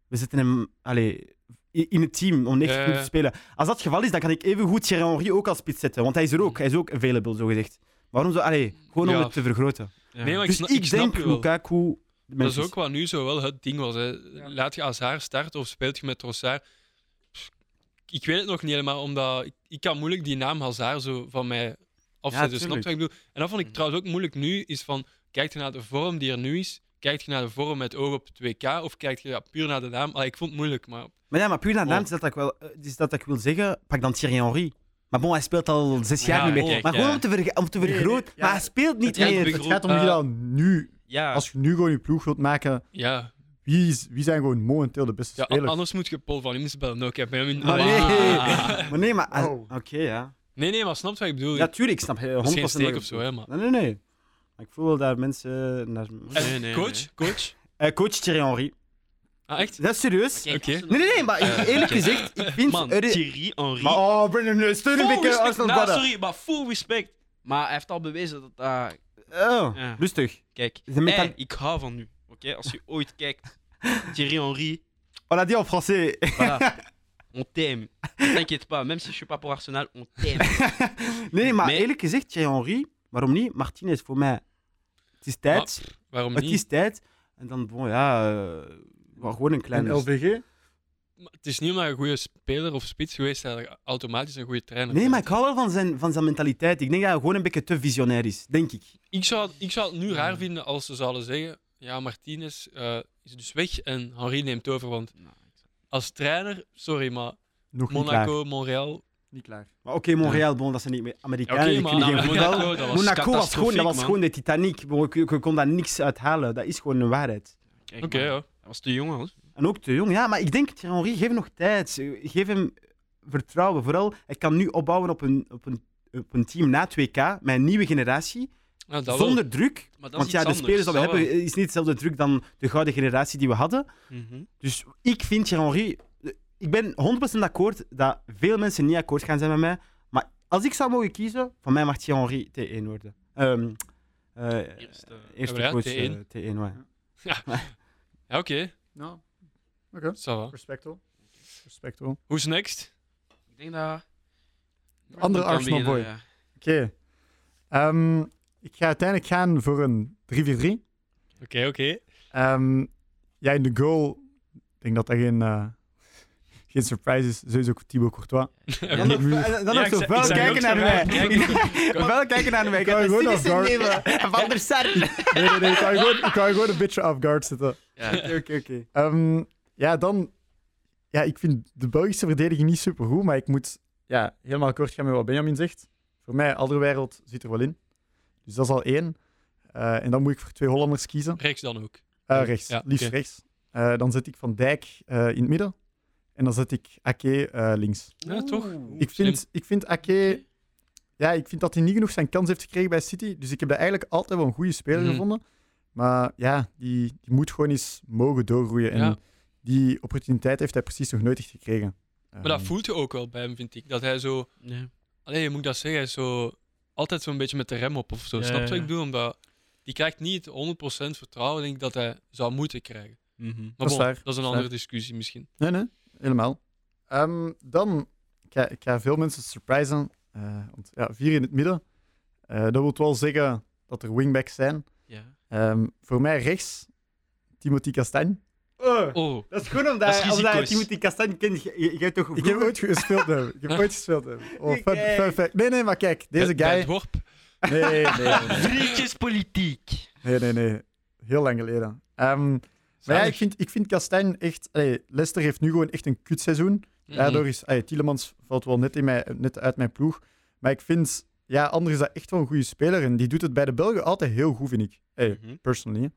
S2: we zetten hem... Allee, in in het team om 90
S1: Ja, ja.
S2: minuten te spelen. Als dat het geval is, dan kan ik even goed Thierry Henry ook als spits zetten. Want hij is er ook. Hij is ook available, zogezegd. Waarom zo? Allee, gewoon om
S1: Mm. Ja.
S2: het te vergroten.
S4: Ja.
S1: Nee, maar ik,
S2: Dus
S1: sna-
S2: ik,
S1: ik snap
S2: denk
S1: je wel.
S2: Lukaku... de
S1: Dat is
S2: mensen-
S1: ook wat nu zo wel het ding was. Hè. Laat je Hazard starten of speelt je met Trossard? Pff, Ik weet het nog niet helemaal, omdat ik, ik kan moeilijk die naam Hazard zo van mij afzetten. snap je
S2: tuurlijk.
S1: wat ik bedoel? En dat vond ik
S4: Mhm.
S1: trouwens ook moeilijk nu, is van, kijk je naar de vorm die er nu is? Kijk je naar de vorm met oog op 2K? Of kijk je ja, puur naar de naam? Allee, ik vond het moeilijk, maar...
S2: Maar ja, maar puur naar
S1: Oh.
S2: naam is dat, dat ik wel, eh, is dat, dat ik wil zeggen. Pak dan Thierry Henry. Maar bon, hij speelt al zes jaar
S4: Ja,
S2: niet meer.
S4: kijk,
S2: maar gewoon
S4: ja.
S2: om te, verge- om te
S3: Nee, nee,
S2: vergroten.
S3: ja.
S2: Maar hij speelt niet
S4: Het gaat
S2: meer.
S4: big-
S3: Het gaat om
S1: Eh,
S3: wie dat nu,
S4: Ja,
S3: als je nu gewoon je ploeg wilt maken,
S1: Ja,
S3: wie, is- wie zijn gewoon momenteel de beste
S1: ja a-
S3: spelers?
S1: anders moet je Paul van Imms bellen ook. Hè. Benjamin-
S2: Maar
S1: Ah.
S2: Oh, nee.
S4: Ah.
S2: Maar nee, maar... als-
S3: Wow.
S2: Oké, ja.
S1: nee, nee, maar snap je wat ik bedoel?
S2: Ja, tuurlijk, ik snap eh, 100%
S1: dat is geen
S2: wat
S1: steek
S2: je
S1: of zo,
S2: bedoelt.
S1: hè, maar...
S2: Nee, nee, nee. Maar ik voel wel daar mensen naar...
S1: En
S4: Nee, nee,
S1: coach?
S4: nee.
S1: Coach?
S2: Eh, coach Thierry Henry.
S1: Ah, echt?
S2: Dat is serieus.
S4: kijk,
S1: Oké.
S4: als ze
S2: Nee,
S4: nog-
S2: nee, nee, maar
S4: Eh,
S2: eerlijk
S4: oké.
S2: gezegd, ik vind...
S4: Man,
S2: er-
S4: Thierry Henry.
S2: maar oh, Brendan, steun een
S4: Full
S2: beetje
S4: respect.
S2: Arsenal
S4: Nou,
S2: Badda.
S4: sorry, maar full respect. Maar hij heeft al bewezen dat... ah,
S2: Oh,
S4: Ja.
S2: rustig.
S4: kijk,
S2: De meta-
S4: hey, ik hou van nu. Oké, als je ooit kijkt, Thierry Henry,
S2: On l'a dit en français.
S4: voilà. on t'aime. T'inquiète pas, même si je suis pas pour Arsenal, on t'aime.
S2: Nee, maar
S4: Nee.
S2: eerlijk gezegd, Thierry Henry, waarom niet? Martinez, voor mij. Het is tijd.
S1: Waarom
S2: het
S1: niet?
S2: is tijd. En dan, bon, ja... eh, maar gewoon een
S3: En
S2: kleine...
S3: LVG?
S1: Maar het is niet omdat je een goede speler of spits geweest dat je automatisch een goede trainer
S2: Nee, maar ik
S1: bent.
S2: hou wel van zijn, van zijn mentaliteit. Ik denk dat hij gewoon een beetje te visionair is, denk ik.
S1: Ik zou, het- ik zou het nu
S4: Ja.
S1: raar vinden als ze zouden zeggen: Ja, Martinez eh, is dus weg en Henri neemt over. Want
S4: Nou, ik-
S1: als trainer, sorry, maar
S3: Nog niet klaar.
S1: Monaco, Montreal.
S3: Niet klaar.
S2: Maar oké, Montreal, bon, dat zijn niet meer Amerikanen.
S1: Oké,
S2: die
S1: maar-
S2: kunnen
S1: nou,
S2: geen
S1: maar
S2: voetbal.
S1: Monaco, dat was
S2: Monaco was gewoon, dat was
S4: man.
S2: gewoon de Titanic. Bon, je, je kon daar niks uit halen. Dat is gewoon een waarheid.
S4: Kijk,
S1: Oké,
S4: man,
S1: ja.
S4: Hij was te jong, hoor.
S2: En ook te jong, ja. Maar ik denk, Thierry Henry, geef hem nog tijd. Geef hem vertrouwen. Vooral, hij kan nu opbouwen op een, op een, op een team na 2K, met een nieuwe generatie.
S1: Ja, Nou, dat wel.
S2: zonder druk.
S4: Maar dat
S2: Want
S4: is
S2: ja,
S4: iets
S2: de spelers die we
S4: anders,
S2: hebben
S4: dat
S2: is niet hetzelfde druk dan de gouden generatie die we hadden.
S4: wel. Mhm.
S2: Dus ik vind Thierry Henry... Ik ben 100% akkoord dat veel mensen niet akkoord gaan zijn met mij. Maar als ik zou mogen kiezen, van mij mag Thierry Henry T1 worden. Ehm eh,
S4: Eerste.
S2: eerste
S1: Ja,
S2: coach
S1: T1.
S2: eh, T1. ja.
S1: Ja, oké.
S3: Nou, oké.
S1: ça va.
S3: Respecto. Respecto. Oké,
S1: Who's next?
S4: Ik denk dat...
S3: Andere
S4: Kan
S3: Arsenal
S4: beginnen,
S3: boy.
S4: ja.
S3: Ehm, ik ga uiteindelijk gaan voor een 3-4-3.
S1: Oké, oké.
S3: Ehm, ja, in de goal, ik denk dat dat geen, eh, geen surprise is. Sowieso Thibaut Courtois.
S1: Oké.
S2: Dan nog- Dan nog
S1: ik zei-
S2: zo vuil
S1: ik zei
S2: kijken
S1: ook
S2: naar
S1: zo
S2: mij.
S1: raar kijken.
S2: Vuil kijken naar mij. Ik
S3: Kan
S2: heb
S3: je
S2: een
S3: gewoon als
S2: cynische
S3: guard-
S2: nemen. Van der Sar.
S3: Nee, nee, nee. Ik kan je gewoon, ik kan je gewoon een beetje off guard zitten.
S4: Ja.
S2: Oké, oké.
S3: Ehm, ja, dan... Ja, ik vind de Belgische verdediging niet super goed, maar ik moet ja, helemaal akkoord gaan met wat Benjamin zegt. Voor mij, Alderwereld zit er wel in. Dus dat is al één. Eh, en dan moet ik voor twee Hollanders kiezen.
S1: Rechts dan ook.
S3: Eh, rechts,
S1: Ja,
S3: liefst
S1: oké.
S3: rechts. Eh, dan zet ik Van Dijk eh, in het midden. En dan zet ik Ake eh, links.
S1: Ja, toch?
S3: Ik vind, ik vind Ake... Ja, ik vind dat hij niet genoeg zijn kans heeft gekregen bij City. Dus ik heb dat eigenlijk altijd wel een goede speler
S1: Mhm.
S3: gevonden. Maar ja, die, die moet gewoon eens mogen doorgroeien. En
S1: Ja.
S3: die opportuniteit heeft hij precies nog nooit echt gekregen. Ehm,
S1: Maar
S2: Ah.
S1: dat voelt je ook wel bij hem, vind ik. Dat hij zo.
S4: Nee.
S1: Allee, je moet dat zeggen, hij is zo, altijd zo'n beetje met de rem op of zo.
S4: Ja,
S1: Snap je
S4: ja,
S1: wat ik
S4: ja.
S1: bedoel? Omdat die krijgt niet het 100% vertrouwen denk ik, dat hij zou moeten krijgen.
S4: Mhm.
S1: Maar
S3: Dat is
S1: bon,
S3: waar,
S1: dat is een
S3: waar.
S1: andere discussie misschien.
S3: Nee, nee, helemaal. Ehm, dan, ik ga, ik ga veel mensen surprisen. Eh, want, ja, vier in het midden. Eh, dat wil wel zeggen dat er wingbacks zijn.
S4: Ja.
S3: Ehm, voor mij rechts, Timothy Castagne.
S2: Oh,
S1: Oh,
S2: Dat is goed
S4: Dat
S2: omdat
S4: is
S2: omdat je
S4: risico's.
S2: Timothy Castagne kent. Je- Je je hebt toch
S3: Ik heb
S2: vroeger-
S3: ooit gespeeld met hem. Ik heb ooit gespeeld met hem. Oh,
S2: Kijk.
S3: fun, fun fact. Nee, nee, maar kijk, deze
S1: bij- bij het
S3: guy...
S1: worp.
S3: Nee, nee, nee.
S4: Vriendjespolitiek.
S3: Nee, nee, nee. Heel lang geleden. Ehm, maar ja, ik vind, ik vind Castagne echt... allee, Leicester heeft nu gewoon echt een kutseizoen.
S1: Mhm.
S3: Daardoor is allee, Tielemans valt wel net, in mijn, net uit mijn ploeg. Maar ik vind, ja, Anders is dat echt wel een goede speler. En die doet het bij de Belgen altijd heel goed, vind ik. Hey,
S4: Mhm.
S3: personally.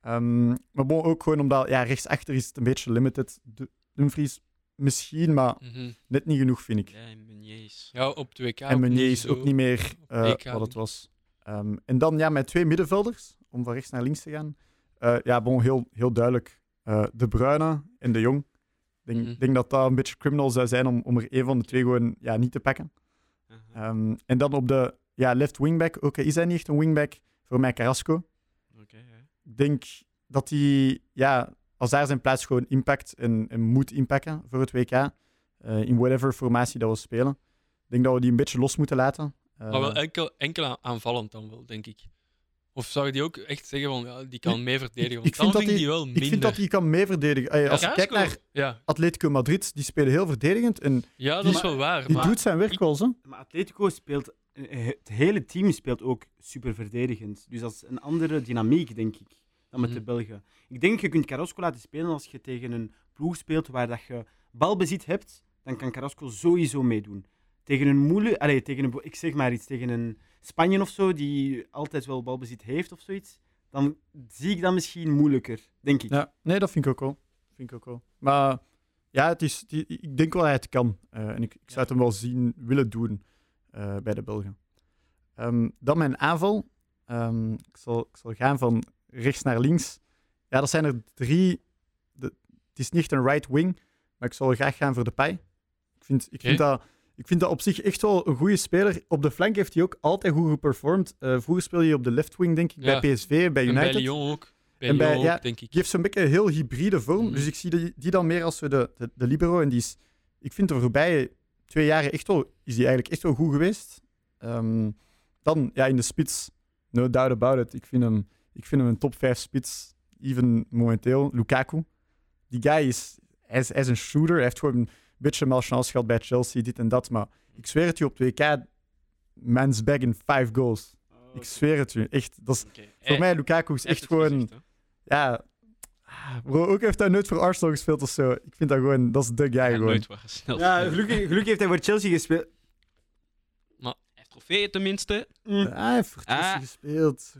S3: Ehm, maar bon, ook gewoon omdat ja, rechtsachter is het een beetje limited. Du- Dumfries misschien, maar
S1: Mhm, mhm.
S3: net niet genoeg, vind ik.
S4: Ja, en Meuniers.
S1: Ja, op 2K.
S3: en Meunier is ook niet meer eh,
S1: EK
S3: wat het
S1: niet.
S3: was. Ehm, en dan ja, met twee middenvelders, om van rechts naar links te gaan. Eh, ja, bon, heel, heel duidelijk. eh, de Bruyne en De Jong. Ik denk,
S1: Mhm.
S3: denk dat dat een beetje criminal zou zijn om, om er één van de twee gewoon ja, niet te pakken.
S4: Aha.
S3: Ehm, en dan op de ja, left wingback, oké, is hij niet echt een wingback? Voor mij Carrasco.
S4: Oké, ja.
S3: Ik denk dat hij, ja, als daar zijn plaats gewoon impact en, en moet inpakken voor het WK, eh, in whatever formatie dat we spelen. Ik denk dat we die een beetje los moeten laten. Eh,
S1: Maar wel enkel, enkel aan- aanvallend dan wel, denk ik. Of zou je die ook echt zeggen van ja, die kan mee verdedigen? Want
S3: ik vind
S1: dan
S3: dat
S1: vind ik die
S3: die-
S1: wel minder.
S3: Ik vind dat hij kan meeverdedigen. Ey, als je kijkt naar
S1: Ja,
S3: Atletico Madrid, die spelen heel verdedigend en
S1: ja dat
S3: Die-
S1: is wel waar.
S3: die
S1: Maar...
S3: doet zijn werk wel. zo.
S2: Maar Atletico speelt, eh, het hele team speelt ook super verdedigend. Dus dat is een andere dynamiek, denk ik, dan met de
S1: Mhm.
S2: Belgen. Ik denk, je kunt Carrasco laten spelen als je tegen een ploeg speelt waar dat je balbezit hebt, dan kan Carrasco sowieso meedoen. Tegen een moeilijk, allee, tegen een, bo- ik zeg maar iets, tegen een Spanje of zo, die altijd wel balbezit heeft of zoiets, dan zie ik dat misschien moeilijker, denk ik.
S3: Ja, nee, dat vind ik ook wel. Vind ik ook wel. Maar ja, het is, die- ik denk wel dat hij het kan. Eh, en ik, ik zou het hem wel zien willen doen eh, bij de Belgen. Ehm, dan mijn aanval. Ehm, ik, zal, ik zal gaan van rechts naar links. Ja, dat zijn er drie. De, het is niet echt een right wing, maar ik zal graag gaan voor de pij. Ik vind, ik, vind dat, ik vind dat op zich echt wel een goede speler. Op de flank heeft hij ook altijd goed geperformed. Eh, vroeger speelde hij op de left wing, denk ik,
S1: Ja.
S3: bij PSV, bij
S1: En bij
S3: United
S1: Lyon ook. Bij
S3: En bij-
S1: Lyon ook,
S3: ja,
S1: denk ik.
S3: geeft zo'n beetje een heel hybride vorm.
S1: Mhm.
S3: Dus ik zie die, die dan meer als zo de, de, de libero. En die is, ik vind de voorbije twee jaren echt wel, is die eigenlijk echt wel goed geweest. Ehm, dan ja, in de spits, no doubt about it. Ik vind hem, ik vind hem een top 5 spits, even momenteel. Lukaku. Die guy is, hij is, hij is een shooter. Hij heeft gewoon een beetje malchance gehad bij Chelsea, dit en dat. Maar ik zweer het je op 2K, man's back in 5 goals. Ik zweer het je, echt. Dat is, voor
S4: Eh,
S3: mij, Lukaku is
S4: dus
S3: echt gewoon ja. ah, Bro, ook heeft hij nooit voor Arsenal gespeeld of zo. Ik vind dat gewoon, dat is de guy
S4: Ja,
S3: gewoon.
S4: nooit was snel.
S2: Ja, gelukkig, gelukkig heeft hij voor Chelsea gespeeld.
S4: Hij heeft trofeeën tenminste.
S2: Mm.
S3: Ah, hij heeft voor Chelsea
S4: Ah.
S3: gespeeld. Hij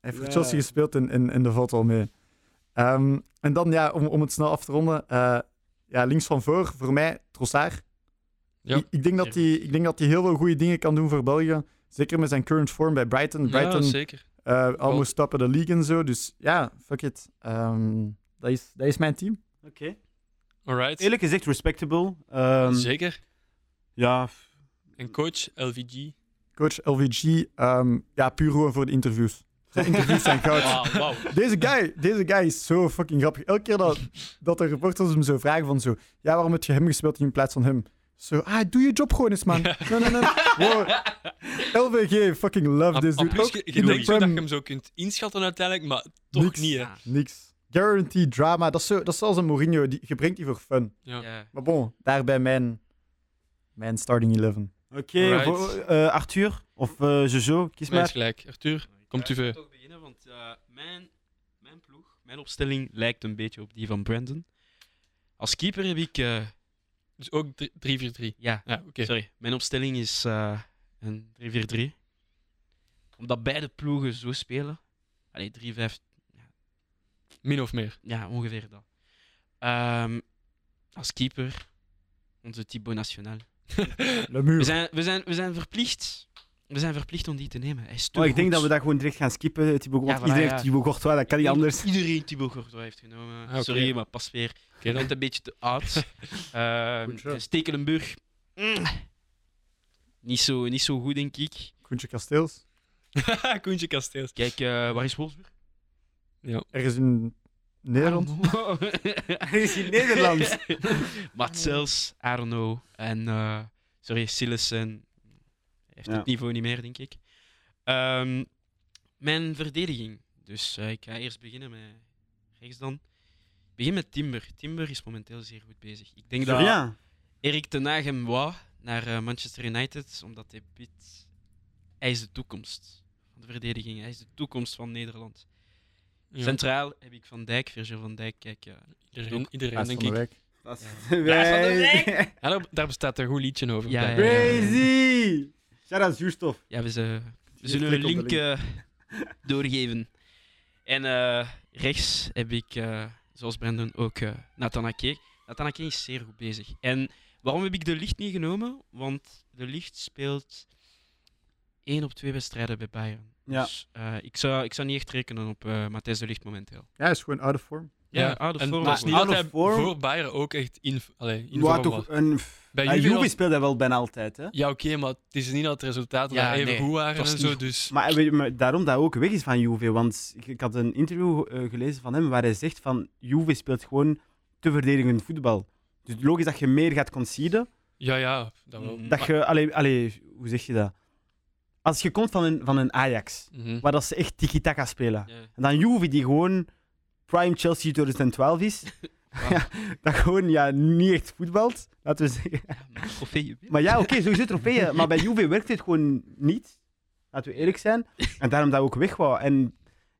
S3: heeft voor
S2: Ja.
S3: Chelsea gespeeld en, en, en dat valt wel mee. Ehm, en dan, ja, om, om het snel af te ronden. eh, ja, links van voor, voor mij, Trossard.
S1: Ja.
S3: Ik, ik denk dat
S4: Zeer
S3: hij- ik denk dat hij heel veel goede dingen kan doen voor België. Zeker met zijn current form bij Brighton.
S1: Ja,
S3: Brighton
S1: zeker.
S3: eh, almost stappen de league en zo. Dus ja, fuck it. Ehm, dat, is, dat is mijn team.
S2: Oké.
S1: Alright.
S2: Eerlijk gezegd, respectable. Ehm,
S1: Zeker.
S2: ja, f-
S1: En coach, LVG.
S3: Coach LVG, ehm, ja, puur gewoon voor de interviews. Zijn interviews zijn goud.
S4: Wauw, wauw.
S3: Deze guy, deze guy is zo fucking grappig. Elke keer dat, dat de reporters hem zo vragen van zo... Ja, waarom heb je hem gespeeld in plaats van hem? Zo, ah, doe je job gewoon eens, man. Nee, nee, nee. Wow. LVG, fucking love this dude.
S1: Plus,
S3: Ook
S1: je, je
S3: in de
S1: denkt zo dat je
S3: prem,
S1: hem zo kunt inschatten uiteindelijk, maar toch
S3: Niks.
S1: niet, hè.
S4: Ja.
S3: niks. Guaranteed drama. Dat is, zo, dat is zoals een Mourinho. Die, je brengt die voor fun.
S1: Ja.
S4: Ja.
S3: Maar bon, daarbij mijn, mijn starting 11.
S2: Oké,
S1: Right.
S2: voor, eh, Arthur of eh Jojo, kies
S1: Mij is
S2: maar.
S1: gelijk. Arthur, komt u
S4: Ik ga
S1: ver.
S4: toch beginnen, want eh, mijn, mijn ploeg, mijn opstelling lijkt een beetje op die van Brandon. Als keeper heb ik... eh,
S1: Dus ook drie- 3-4-3.
S4: ja,
S1: Ja, oké.
S4: sorry. Mijn opstelling is eh, een 3-4-3. Omdat beide ploegen zo spelen. Allee, 3-5
S1: Min of meer.
S4: Ja, ongeveer dat. Ehm, als keeper, onze Thibaut National.
S3: Le
S4: We
S3: muur.
S4: zijn, we, zijn, we zijn verplicht. We zijn verplicht om die te nemen. Hij is te
S2: Oh, ik denk
S4: goed.
S2: dat we dat gewoon direct gaan skippen. Thibaut Courtois.
S4: voilà,
S2: Iedereen
S4: ja.
S2: heeft Thibaut Courtois, dat kan niet anders.
S4: Iedereen Thibaut Courtois heeft genomen.
S1: Ah, oké.
S4: Sorry, maar pas weer.
S1: Oké,
S4: Dat
S1: dan.
S4: is een beetje te oud. Ehm,
S3: Goed zo.
S4: Stekelenburg. Mm. Niet zo, niet zo goed, denk ik.
S3: Koentje Kasteels.
S1: Koentje Kasteels.
S4: Kijk, eh, waar is Wolfsburg?
S3: Ergens in Nederland.
S4: Arno.
S2: Hij is in Nederland.
S4: Matsels, Arno en eh, sorry, Sillissen. Heeft
S2: Ja.
S4: het niveau niet meer, denk ik. Ehm, mijn verdediging. Dus eh, ik ga eerst beginnen met rechts dan. Ik begin met Timber. Timber is momenteel zeer goed bezig. Ik denk dat
S2: Ja.
S4: Erik ten Hag hem wou naar eh, Manchester United, omdat hij biedt... Hij is de toekomst van de verdediging. Hij is de toekomst van Nederland.
S1: Ja.
S4: Centraal heb ik Van Dijk, Virgil van Dijk. Kijk, eh,
S1: Iedereen, iedereen
S3: Plaats Ah, van
S1: denk
S3: de
S1: ik.
S3: week.
S2: Dat is
S4: Wij-
S1: Ja, daar, daar bestaat een goed liedje over.
S4: Ja,
S1: blijkbaar.
S4: ja,
S2: Crazy! Shout-out zuurstof.
S4: Ja, we, zullen- we
S3: Je
S4: zullen een
S3: klikt op de
S4: link eh, doorgeven. En eh, rechts heb ik, eh, zoals Brandon ook, eh Nathan Ake. Nathan Ake is zeer goed bezig. En waarom heb ik de licht niet genomen? Want de licht speelt één op twee wedstrijden bij Bayern.
S2: Ja.
S4: Dus eh, ik, zou, ik zou niet echt rekenen op eh Matthijs de Licht momenteel.
S3: Ja, hij is gewoon out of form.
S4: Ja, ah,
S1: Ja,
S4: oude
S1: en
S4: vorm.
S1: het is
S4: ook.
S1: niet
S2: Out
S1: dat
S2: of
S1: hij
S2: form.
S1: voor Bayern ook echt in, allee, in
S2: Ja,
S1: vorm
S2: toch
S1: was.
S2: een...
S1: Bij
S2: Ah,
S1: Juve
S2: Juve
S1: was-
S2: speelt hij wel bijna altijd, hè?
S1: Ja, oké, maar het is niet dat de resultaten
S4: Ja,
S1: daar even
S4: nee,
S1: goed waren
S4: het was
S1: en zo,
S4: niet
S1: dus...
S2: Maar, weet je, maar daarom dat hij ook weg is van Juve. Want ik, ik had een interview eh, gelezen van hem waar hij zegt van Juve speelt gewoon te verdedigend voetbal. Dus logisch dat je meer gaat conceden.
S1: Ja, ja, dat wel.
S4: Mm.
S2: Dat je... Allee, allee, hoe zeg je dat? Als je komt van een, van een Ajax,
S1: Mhm.
S2: waar dat ze echt tiki-taka spelen.
S4: Ja.
S2: En dan Juve, die gewoon prime Chelsea 2012 is. Ja, dat gewoon ja, niet echt voetbalt, laten we zeggen.
S4: maar trofee.
S2: Maar ja, oké, sowieso trofeeën. Maar bij Juve werkt dit gewoon niet. Laten we eerlijk zijn. En daarom dat we ook weg wou. En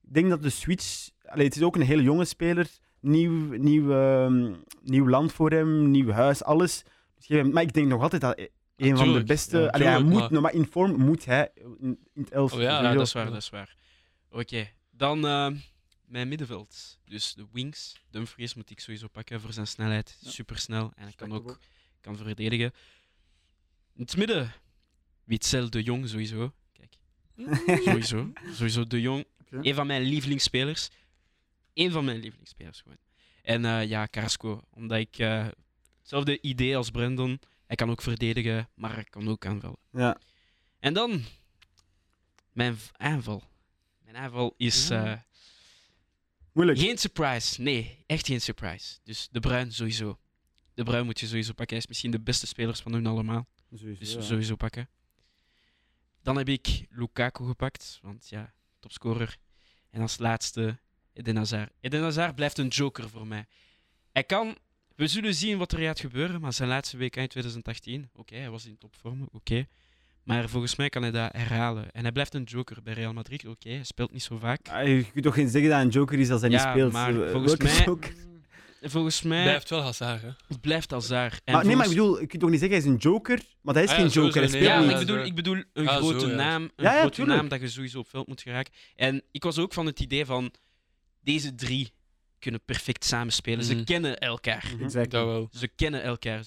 S2: ik denk dat de Switch... Allee, het is ook een hele jonge speler. Nieuw, nieuw, ehm, nieuw land voor hem, nieuw huis, alles. Dus geef hem- Maar ik denk nog altijd dat hij een van de
S1: Natuurlijk,
S2: beste...
S1: ja,
S2: allee, hij
S1: tuurlijk,
S2: moet,
S1: maar-
S2: maar... maar in vorm moet hij in, in het elf.
S1: Oh ja,
S4: Ja,
S2: sowieso.
S4: dat is waar, dat is waar. Oké, dan eh, mijn middenveld. Dus de wings. Dumfries moet ik sowieso pakken voor zijn snelheid.
S3: Ja.
S4: Supersnel. En hij kan
S3: Respect
S4: ook kan verdedigen. In het midden. Witzel de Jong sowieso. Kijk. sowieso. Sowieso de Jong.
S3: Oké.
S4: Een van mijn lievelingsspelers. Een van mijn lievelingsspelers gewoon. En eh, ja, Carrasco. Omdat ik... eh, hetzelfde idee als Brandon. Hij kan ook verdedigen, maar hij kan ook aanvallen.
S2: Ja.
S4: En dan mijn v- aanval. Mijn aanval is
S1: Ja.
S4: eh,
S2: Moeilijk.
S4: geen surprise. Nee, echt geen surprise. Dus de Bruin sowieso. De Bruin moet je sowieso pakken. Hij is misschien de beste speler van hun allemaal.
S2: Sowieso,
S4: Dus
S2: ja.
S4: sowieso pakken. Dan heb ik Lukaku gepakt. Want ja, topscorer. En als laatste Eden Hazard. Eden Hazard blijft een joker voor mij. Hij kan... We zullen zien wat er gaat gebeuren, maar zijn laatste WK in 2018... Oké, hij was in topvorm, oké. Maar volgens mij kan hij dat herhalen. En hij blijft een joker bij Real Madrid, oké. hij speelt niet zo vaak.
S2: Ah, Je kunt toch geen zeggen dat hij een joker is als hij
S4: Ja,
S2: niet speelt?
S4: maar
S2: Eh,
S4: volgens
S2: welke
S4: mij-
S2: joker?
S4: En volgens mij
S1: Blijft wel Hazard, hè?
S4: het blijft Hazard. En
S2: Maar, nee, maar ik
S4: volgens-
S2: bedoel, je kunt toch niet zeggen hij is een joker? Maar hij is
S1: Ah ja,
S2: geen
S1: sowieso,
S2: joker, hij
S1: nee,
S2: speelt
S4: Ja,
S2: niet.
S4: maar
S1: Ja,
S4: ik bedoel,
S1: zo.
S4: ik bedoel een
S1: Ah, zo,
S4: grote
S1: ja.
S4: naam. Een
S2: Ja, ja,
S4: grote
S2: tuurlijk.
S4: naam dat je sowieso op veld moet geraken. En ik was ook van het idee van deze drie kunnen perfect samenspelen. Ze
S1: Mhm.
S4: kennen elkaar.
S2: Mhm.
S3: Exact.
S1: Dat wel.
S4: Ze kennen elkaar.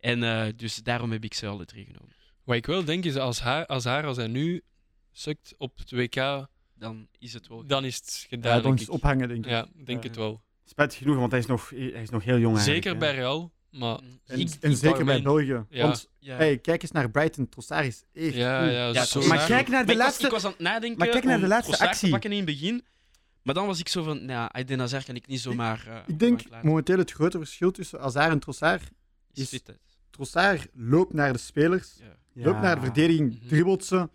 S4: En eh, dus daarom heb ik ze alle drie genomen.
S1: Wat ik wel denk is, als haar, als, haar, als hij nu sukt op het WK,
S4: Dan is het wel.
S1: dan is het
S3: Ja,
S1: gedaan,
S3: dan
S1: denk
S3: is
S1: ik.
S3: het ophangen, denk ik.
S1: Ja, denk
S3: Ja.
S1: het wel.
S2: Spijtig genoeg, want hij is nog, hij is nog heel jong eigenlijk.
S1: Zeker bij Real, maar...
S3: En,
S1: Ik-
S3: en
S1: ik
S3: zeker bij
S1: ben-
S3: België.
S1: Ja.
S3: Want
S4: Ja.
S3: hey, kijk eens naar Brighton. Trossard is echt...
S1: Ja,
S3: goed.
S1: ja,
S4: Ja,
S1: zo
S4: het is-
S2: Maar
S1: raar.
S2: kijk naar de
S4: Maar ik was-
S2: laatste...
S4: ik was aan het nadenken.
S2: Maar kijk naar
S4: om
S2: de laatste
S4: Trossard te
S2: actie.
S4: pakken in het begin. Maar dan was ik zo van, nou, Aiden Hazard kan ik niet zomaar. eh,
S3: Ik denk
S4: laten.
S3: momenteel het grote verschil tussen Hazard en Trossard.
S4: Is fit, hè.
S3: Trossard loopt naar de spelers,
S4: Ja.
S3: loopt naar de verdediging,
S1: Mhm.
S3: dribbelt ze.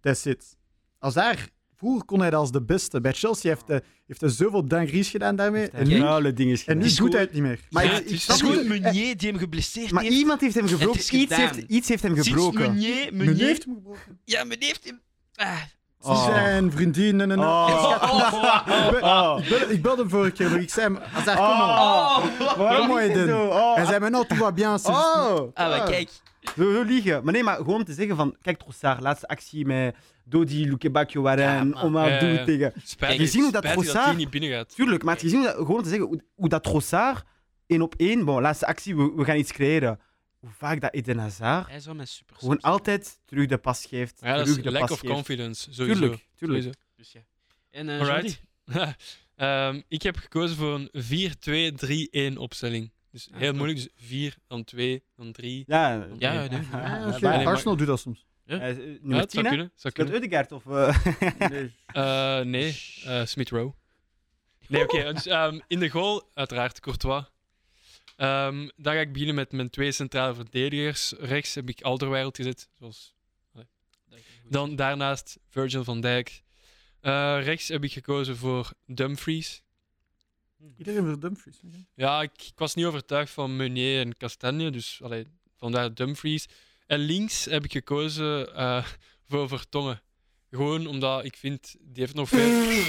S3: That's it. Hazard, vroeger kon hij dat als de beste. Bij Chelsea heeft hij, heeft hij zoveel dangries gedaan daarmee. En nu,
S2: Ruile dingen gedaan.
S3: en nu
S4: is
S3: doet
S4: goed.
S3: hij het niet meer.
S2: Maar
S1: Ja,
S2: ik-
S1: het
S2: ik
S1: is
S4: Het is
S2: snap
S4: gewoon
S2: niet-
S4: Meunier die hem geblesseerd
S2: Maar
S4: heeft.
S2: iemand heeft hem gebroken.
S4: is
S2: Iets
S4: gedaan.
S2: heeft, iets heeft hem
S4: Sinds
S2: gebroken.
S4: Meunier,
S3: Men
S4: Meunier.
S3: heeft hem gebroken.
S4: Ja, meneer heeft hem. Ah.
S2: Oh.
S3: Zijn vriendin. en- en-
S2: Oh.
S3: Ik be-
S1: Ah.
S2: Oh.
S3: ik bel- Ik belde hem vorige keer nog. Ik zei hem, Hazard, kom
S2: Oh.
S3: maar.
S2: Waarom
S3: Kom maar,
S2: is hij
S3: Eden.
S2: zo? Oh.
S3: Hij zei me, nou, tout va bien. c'est juste-
S2: Oh.
S4: Ah, maar kijk.
S2: Zo, zo liegen. Maar nee, maar gewoon om te zeggen van... Kijk, Trossard, laatste actie met Dodi, Luke Bakio, Warren,
S4: maar-
S2: Omar
S1: Ja,
S2: Doe
S1: ja.
S2: tegen...
S1: Spijtig,
S2: Je ziet hoe dat
S1: spijtig dat
S2: Trossard-
S1: hij niet binnen gaat.
S2: Tuurlijk, maar het is gezien hoe dat- gewoon te zeggen hoe, hoe dat Trossard één op één... Bon, laatste actie, we, we gaan iets creëren. Hoe vaak dat Eden Hazard
S4: Hij zou mij super
S2: gewoon altijd terug de pas geeft.
S1: Ja, dat
S2: terug
S1: is
S2: de
S1: lack
S2: pas
S1: of
S2: geeft.
S1: confidence, sowieso.
S2: Tuurlijk, tuurlijk.
S1: Sowieso.
S4: Dus ja. En eh
S1: Alright.
S4: Jordi?
S1: Ehm, ik heb gekozen voor een 4-2-3-1 opstelling. Dus
S4: Ah,
S1: heel
S4: goed.
S1: moeilijk. Dus 4, dan 2, dan 3.
S2: Ja,
S4: Ja,
S2: oké.
S4: ja, nee.
S2: Ah,
S3: Ah, oké,
S2: ah, ah,
S1: maar-
S3: Arsenal doet dat soms.
S2: eh,
S1: Ja,
S2: Nummer
S1: het
S2: 10,
S1: zou
S2: hè?
S1: kunnen. Zou
S2: Speelt
S1: kunnen.
S2: Ødegaard of... eh,
S1: Eh, nee, eh, Smith Rowe. Nee, oké. dus, ehm, in de goal, uiteraard Courtois. Ehm, dan ga ik beginnen met mijn twee centrale verdedigers. Rechts heb ik Alderweireld gezet, zoals Dan daarnaast Virgil van Dijk. Eh, rechts heb ik gekozen voor Dumfries.
S3: Iedereen wil Dumfries. oké.
S1: Ja, ik, ik was niet overtuigd van Meunier en Castagne, dus allee, vandaar Dumfries. En links heb ik gekozen eh, voor Vertongen. Gewoon omdat ik vind, die heeft nog veel...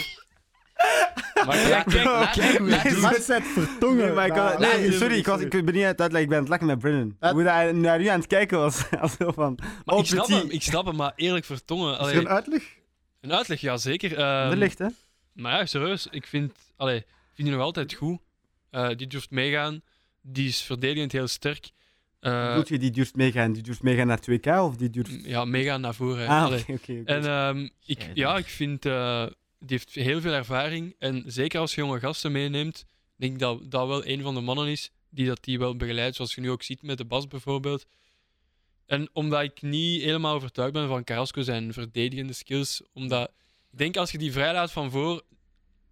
S1: maar ja, kijk,
S4: laat-
S3: Kijk,
S4: laat-
S3: die
S4: laat-
S3: wedstrijd vertongen.
S2: Nee, maar ik kan-
S3: Nou,
S2: nee,
S1: laat-
S2: sorry, ik, was, ik ben niet aan het uitleggen, ik ben aan het lachen met Brennan.
S3: Laat-
S2: Hoe hij naar u aan het kijken was. als zo van,
S1: maar
S2: oh,
S1: ik snap
S2: petit.
S1: hem, ik snap hem, maar eerlijk Vertongen.
S3: Is
S1: allee,
S3: er een uitleg?
S1: een uitleg, ja zeker. ehm,
S2: Er ligt, hè?
S1: Maar ja, serieus, ik vind, allee, ik vind die nog altijd goed. Eh, die durft meegaan, die is verdedigend heel sterk. Eh,
S2: Bedoelt je die duurt meegaan? Die duurt meegaan naar 2K of die duurt...
S1: ja, meegaan naar voren. hè.
S2: Ah,
S1: Allee.
S2: oké, oké. oké.
S1: En ehm, ik,
S4: Scheidig.
S1: ja, ik vind, eh, die heeft heel veel ervaring. En zeker als je jonge gasten meeneemt, denk ik dat dat wel een van de mannen is die dat die wel begeleidt. Zoals je nu ook ziet met de Bas bijvoorbeeld. En omdat ik niet helemaal overtuigd ben van Carrasco zijn verdedigende skills, omdat ik denk als je die vrijlaat van voor,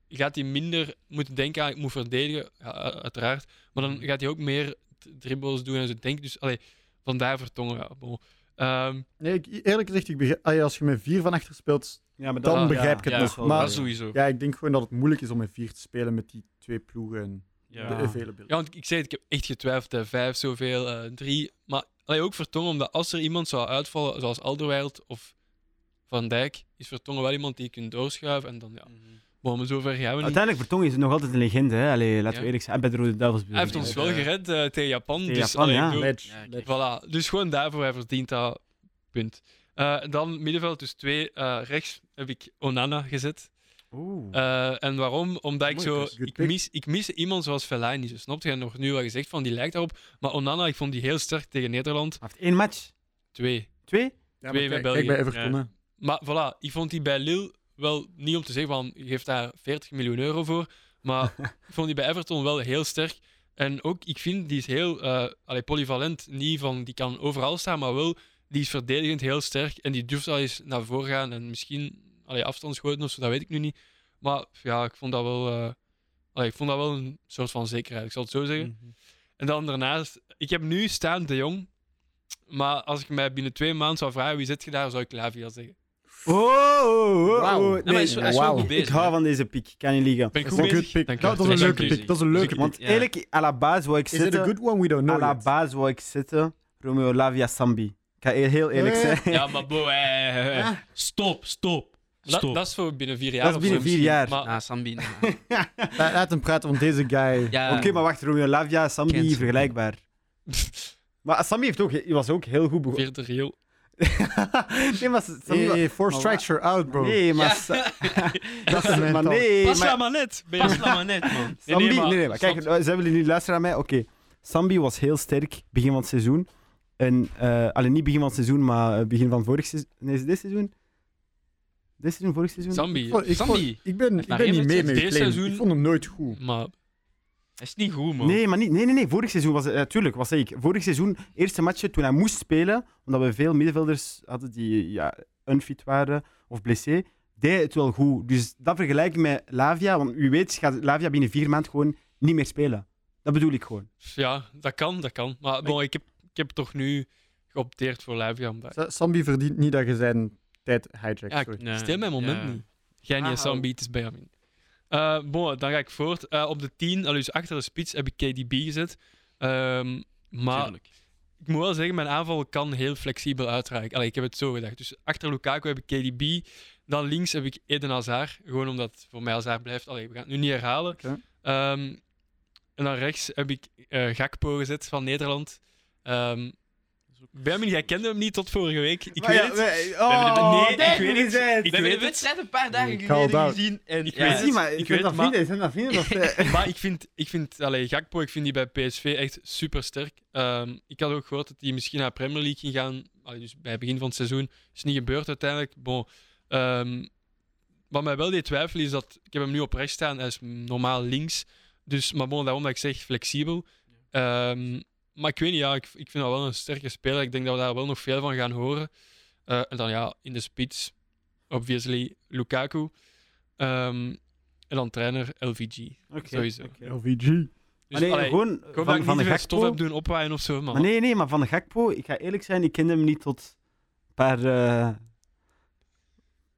S1: gaat hij minder moeten denken aan ik moet verdedigen, ja, u- uiteraard. Maar dan gaat hij ook meer d- dribbles doen en zo denken. Dus allee, vandaar vertongen. Ja, bon. Ehm,
S3: Nee, ik, eerlijk gezegd, ik begrijp- allee, als je met vier van achter speelt,
S2: Ja, maar
S3: dan
S1: Ah,
S3: begrijp ik het
S4: ja,
S3: nog.
S2: wel,
S3: Maar
S4: dat sowieso.
S3: ja, ik denk gewoon dat het moeilijk is om met vier te spelen met die twee ploegen en
S4: Ja.
S3: de
S2: Ja.
S3: availability.
S1: ja, want ik zei het, ik heb echt getwijfeld. Hè. Vijf zoveel, eh, drie. Maar allee, ook Vertongen, omdat als er iemand zou uitvallen, zoals Alderweireld of Van Dijk, is Vertongen wel iemand die je kunt doorschuiven. En dan, ja,
S4: Mhm.
S1: maar zover gaan we niet.
S2: Uiteindelijk, Vertongen is nog altijd een legende. Hè? Allee, laten
S1: Ja.
S2: we eerlijk zijn. En bij de Rode Duivels
S1: Hij heeft ons
S2: bijvoorbeeld.
S1: wel gered eh, tegen Japan.
S2: Tegen
S1: dus,
S2: Japan,
S1: allee, ik
S2: ja.
S1: bedoel,
S3: Ledge,
S4: Ja,
S3: ledge.
S1: Voilà, dus gewoon daarvoor, hij verdient dat punt. Eh, dan middenveld, dus twee. eh, rechts heb ik Onana gezet.
S2: Oeh.
S1: Eh, en waarom? Omdat ik
S3: Mooi,
S1: zo...
S3: dat is een good
S1: Ik
S3: pick.
S1: mis, ik mis iemand zoals Fellaini, zo snap je? En nog nu wat gezegd van, die lijkt daarop. Maar Onana, ik vond die heel sterk tegen Nederland.
S2: Hij heeft één match.
S1: Twee.
S2: Twee?
S3: Ja,
S1: Twee
S3: maar
S1: bij
S3: kijk, kijk
S1: België.
S3: bij Everton.
S4: Ja.
S3: hè.
S1: Maar voilà, ik vond die bij Lille wel niet om te zeggen van, je geeft daar 40 miljoen euro voor. Maar ik vond die bij Everton wel heel sterk. En ook, ik vind, die is heel eh, allee, polyvalent. Niet van, die kan overal staan, maar wel, die is verdedigend heel sterk. En die durft al eens naar voren gaan en misschien allee, afstandsschoten of zo, dat weet ik nu niet. Maar ja, ik vond dat wel, eh, allee, ik vond dat wel een soort van zekerheid, ik zal het zo zeggen.
S4: Mhm.
S1: En dan daarnaast, ik heb nu staan De Jong. Maar als ik mij binnen twee maanden zou vragen wie zit je daar, zou ik Lavia zeggen.
S2: Oh, oh, oh,
S3: Wauw.
S2: oh.
S3: Ja,
S4: maar hij is- hij is wel
S2: wauw.
S4: goed bezig,
S2: Ik hou
S4: hè.
S2: van deze pick. Ik kan niet liegen.
S1: Ben ik
S3: Dat
S1: goed
S3: is een
S1: bezig?
S3: good pick.
S1: Dank je.
S3: Dat was een
S4: Dank je.
S3: leuke pick. Dat is een leuke
S4: Dank je.
S3: pick.
S2: Want
S4: Ja.
S2: eerlijk, à la base wou ik
S3: Is it
S2: zitten...
S3: a good one? We don't
S2: à
S3: know
S2: la
S3: yet.
S2: baas wou ik zitten Romeo Lavia Sambi. Ik ga heel heel eerlijk
S3: Nee.
S2: zijn.
S4: Ja, maar bo, eh, eh,
S2: Ah.
S4: eh. stop, stop.
S1: Dat,
S4: Stop.
S1: dat is voor binnen vier jaar.
S2: Dat is
S1: of
S2: binnen
S1: zo
S2: vier
S1: misschien.
S2: jaar.
S1: Maar
S4: Ah, Sambi. nee.
S3: La- Laat hem praten, want deze guy...
S4: Ja,
S2: Oké, maar wacht. Romeo Lavia, Sambi,
S4: Kent ze.
S2: vergelijkbaar. Maar Sambi heeft ook, hij was ook heel goed begonnen.
S1: vierde reel.
S2: nee, maar Sambi
S3: Hey,
S2: was-
S3: hey, four
S2: Maar
S3: strikes, you're out, bro.
S2: Nee, maar...
S4: Ja.
S2: Sa-
S3: Dat is
S2: maar
S3: mental.
S2: nee,
S1: Pas
S2: maar...
S1: maar, maar net. Ben je-
S4: Pas nou maar net, man.
S1: Nee,
S2: Sambi,
S1: nee,
S2: nee,
S1: maar-
S2: nee, maar kijk,
S1: snap-
S2: zij willen niet luisteren aan mij. Oké, Sambi was heel sterk begin van het seizoen. En, eh alleen niet begin van het seizoen, maar eh, begin van vorig seizoen. Nee, dit seizoen? Dit seizoen, vorig seizoen?
S1: Zambi.
S3: vond- ik
S1: Zambi.
S3: Ik ben, ik
S1: Maar
S3: ben
S1: Evert
S3: niet mee
S1: zegt
S3: met
S1: dit
S3: je claim.
S1: seizoen-
S3: Ik vond hem nooit goed.
S1: Maar
S4: Dat is niet goed, man.
S2: Nee, maar niet, nee, nee, nee, vorig seizoen was het, natuurlijk, was ik. Vorig seizoen, eerste matchje toen hij moest spelen, omdat we veel middenvelders hadden die ja, unfit waren of blessé, deed het wel goed. Dus dat vergelijk ik met Lavia, want u weet, gaat Lavia binnen vier maanden gewoon niet meer spelen. Dat bedoel ik gewoon.
S1: ja, dat kan, dat kan. Maar bon, ik, heb, ik heb toch nu geopteerd voor Lavia. omdat-
S3: Sa- Sambi verdient niet dat je zijn tijd hijjackt.
S1: Ja,
S3: sorry.
S4: Nee,
S1: Stil mijn moment
S4: ja.
S1: niet. Jij niet,
S4: Ah,
S1: en Zambi, het is Benjamin. Eh, bon, dan ga ik voort. Eh, op de 10, al dus achter de spits, heb ik KDB gezet. Ehm, maar
S4: Tuurlijk.
S1: ik moet wel zeggen, mijn aanval kan heel flexibel uitraken. Allee, ik heb het zo gedacht. Dus achter Lukaku heb ik KDB. Dan links heb ik Eden Hazard. Gewoon omdat het voor mij Hazard blijft. Allee, we gaan het nu niet herhalen.
S3: Oké.
S1: Ehm, en dan rechts heb ik eh, Gakpo gezet van Nederland. Ehm Benjamin, jij kende hem niet tot vorige week. Ik weet het.
S2: Oh,
S1: nee, ik
S2: dat
S1: weet
S2: is
S1: het.
S2: het.
S1: Ik
S4: We
S1: weet
S4: hebben de
S1: het.
S4: wedstrijd een paar dagen
S3: Called
S4: geleden
S3: out.
S4: gezien. En,
S1: Ik
S4: ja,
S1: weet
S2: Ik
S1: het.
S2: zie, maar ik
S1: weet
S2: vind dat
S1: het, maar-
S2: vrienden, zijn dat vrienden? Of, eh,
S1: Maar ik vind, ik vind allee, Gakpo ik vind die bij PSV echt super sterk. ik had ook gehoord dat hij misschien naar Premier League ging gaan. Allee, dus bij het begin van het seizoen is niet gebeurd uiteindelijk. Bon, ehm, wat mij wel deed twijfelen is dat ik heb hem nu op rechts staan. Hij is normaal links. Dus, maar bon, daarom dat ik zeg flexibel. Ehm, maar ik weet niet, ja, ik, ik vind dat wel een sterke speler. Ik denk dat we daar wel nog veel van gaan horen. Eh, en dan ja, in de spits, obviously Lukaku. Ehm, en dan trainer LVG.
S2: Oké,
S1: Sowieso.
S2: oké.
S3: LVG.
S1: Dus,
S2: Allee,
S1: allee,
S2: gewoon
S1: ik
S2: van,
S1: hoop dat
S2: van,
S1: ik niet te
S2: de
S1: veel stof
S2: Gakpo.
S1: heb doen opwaaien of zo, maar...
S2: Maar nee, nee, maar van de Gakpo, ik ga eerlijk zijn, ik kende hem niet tot een paar, eh,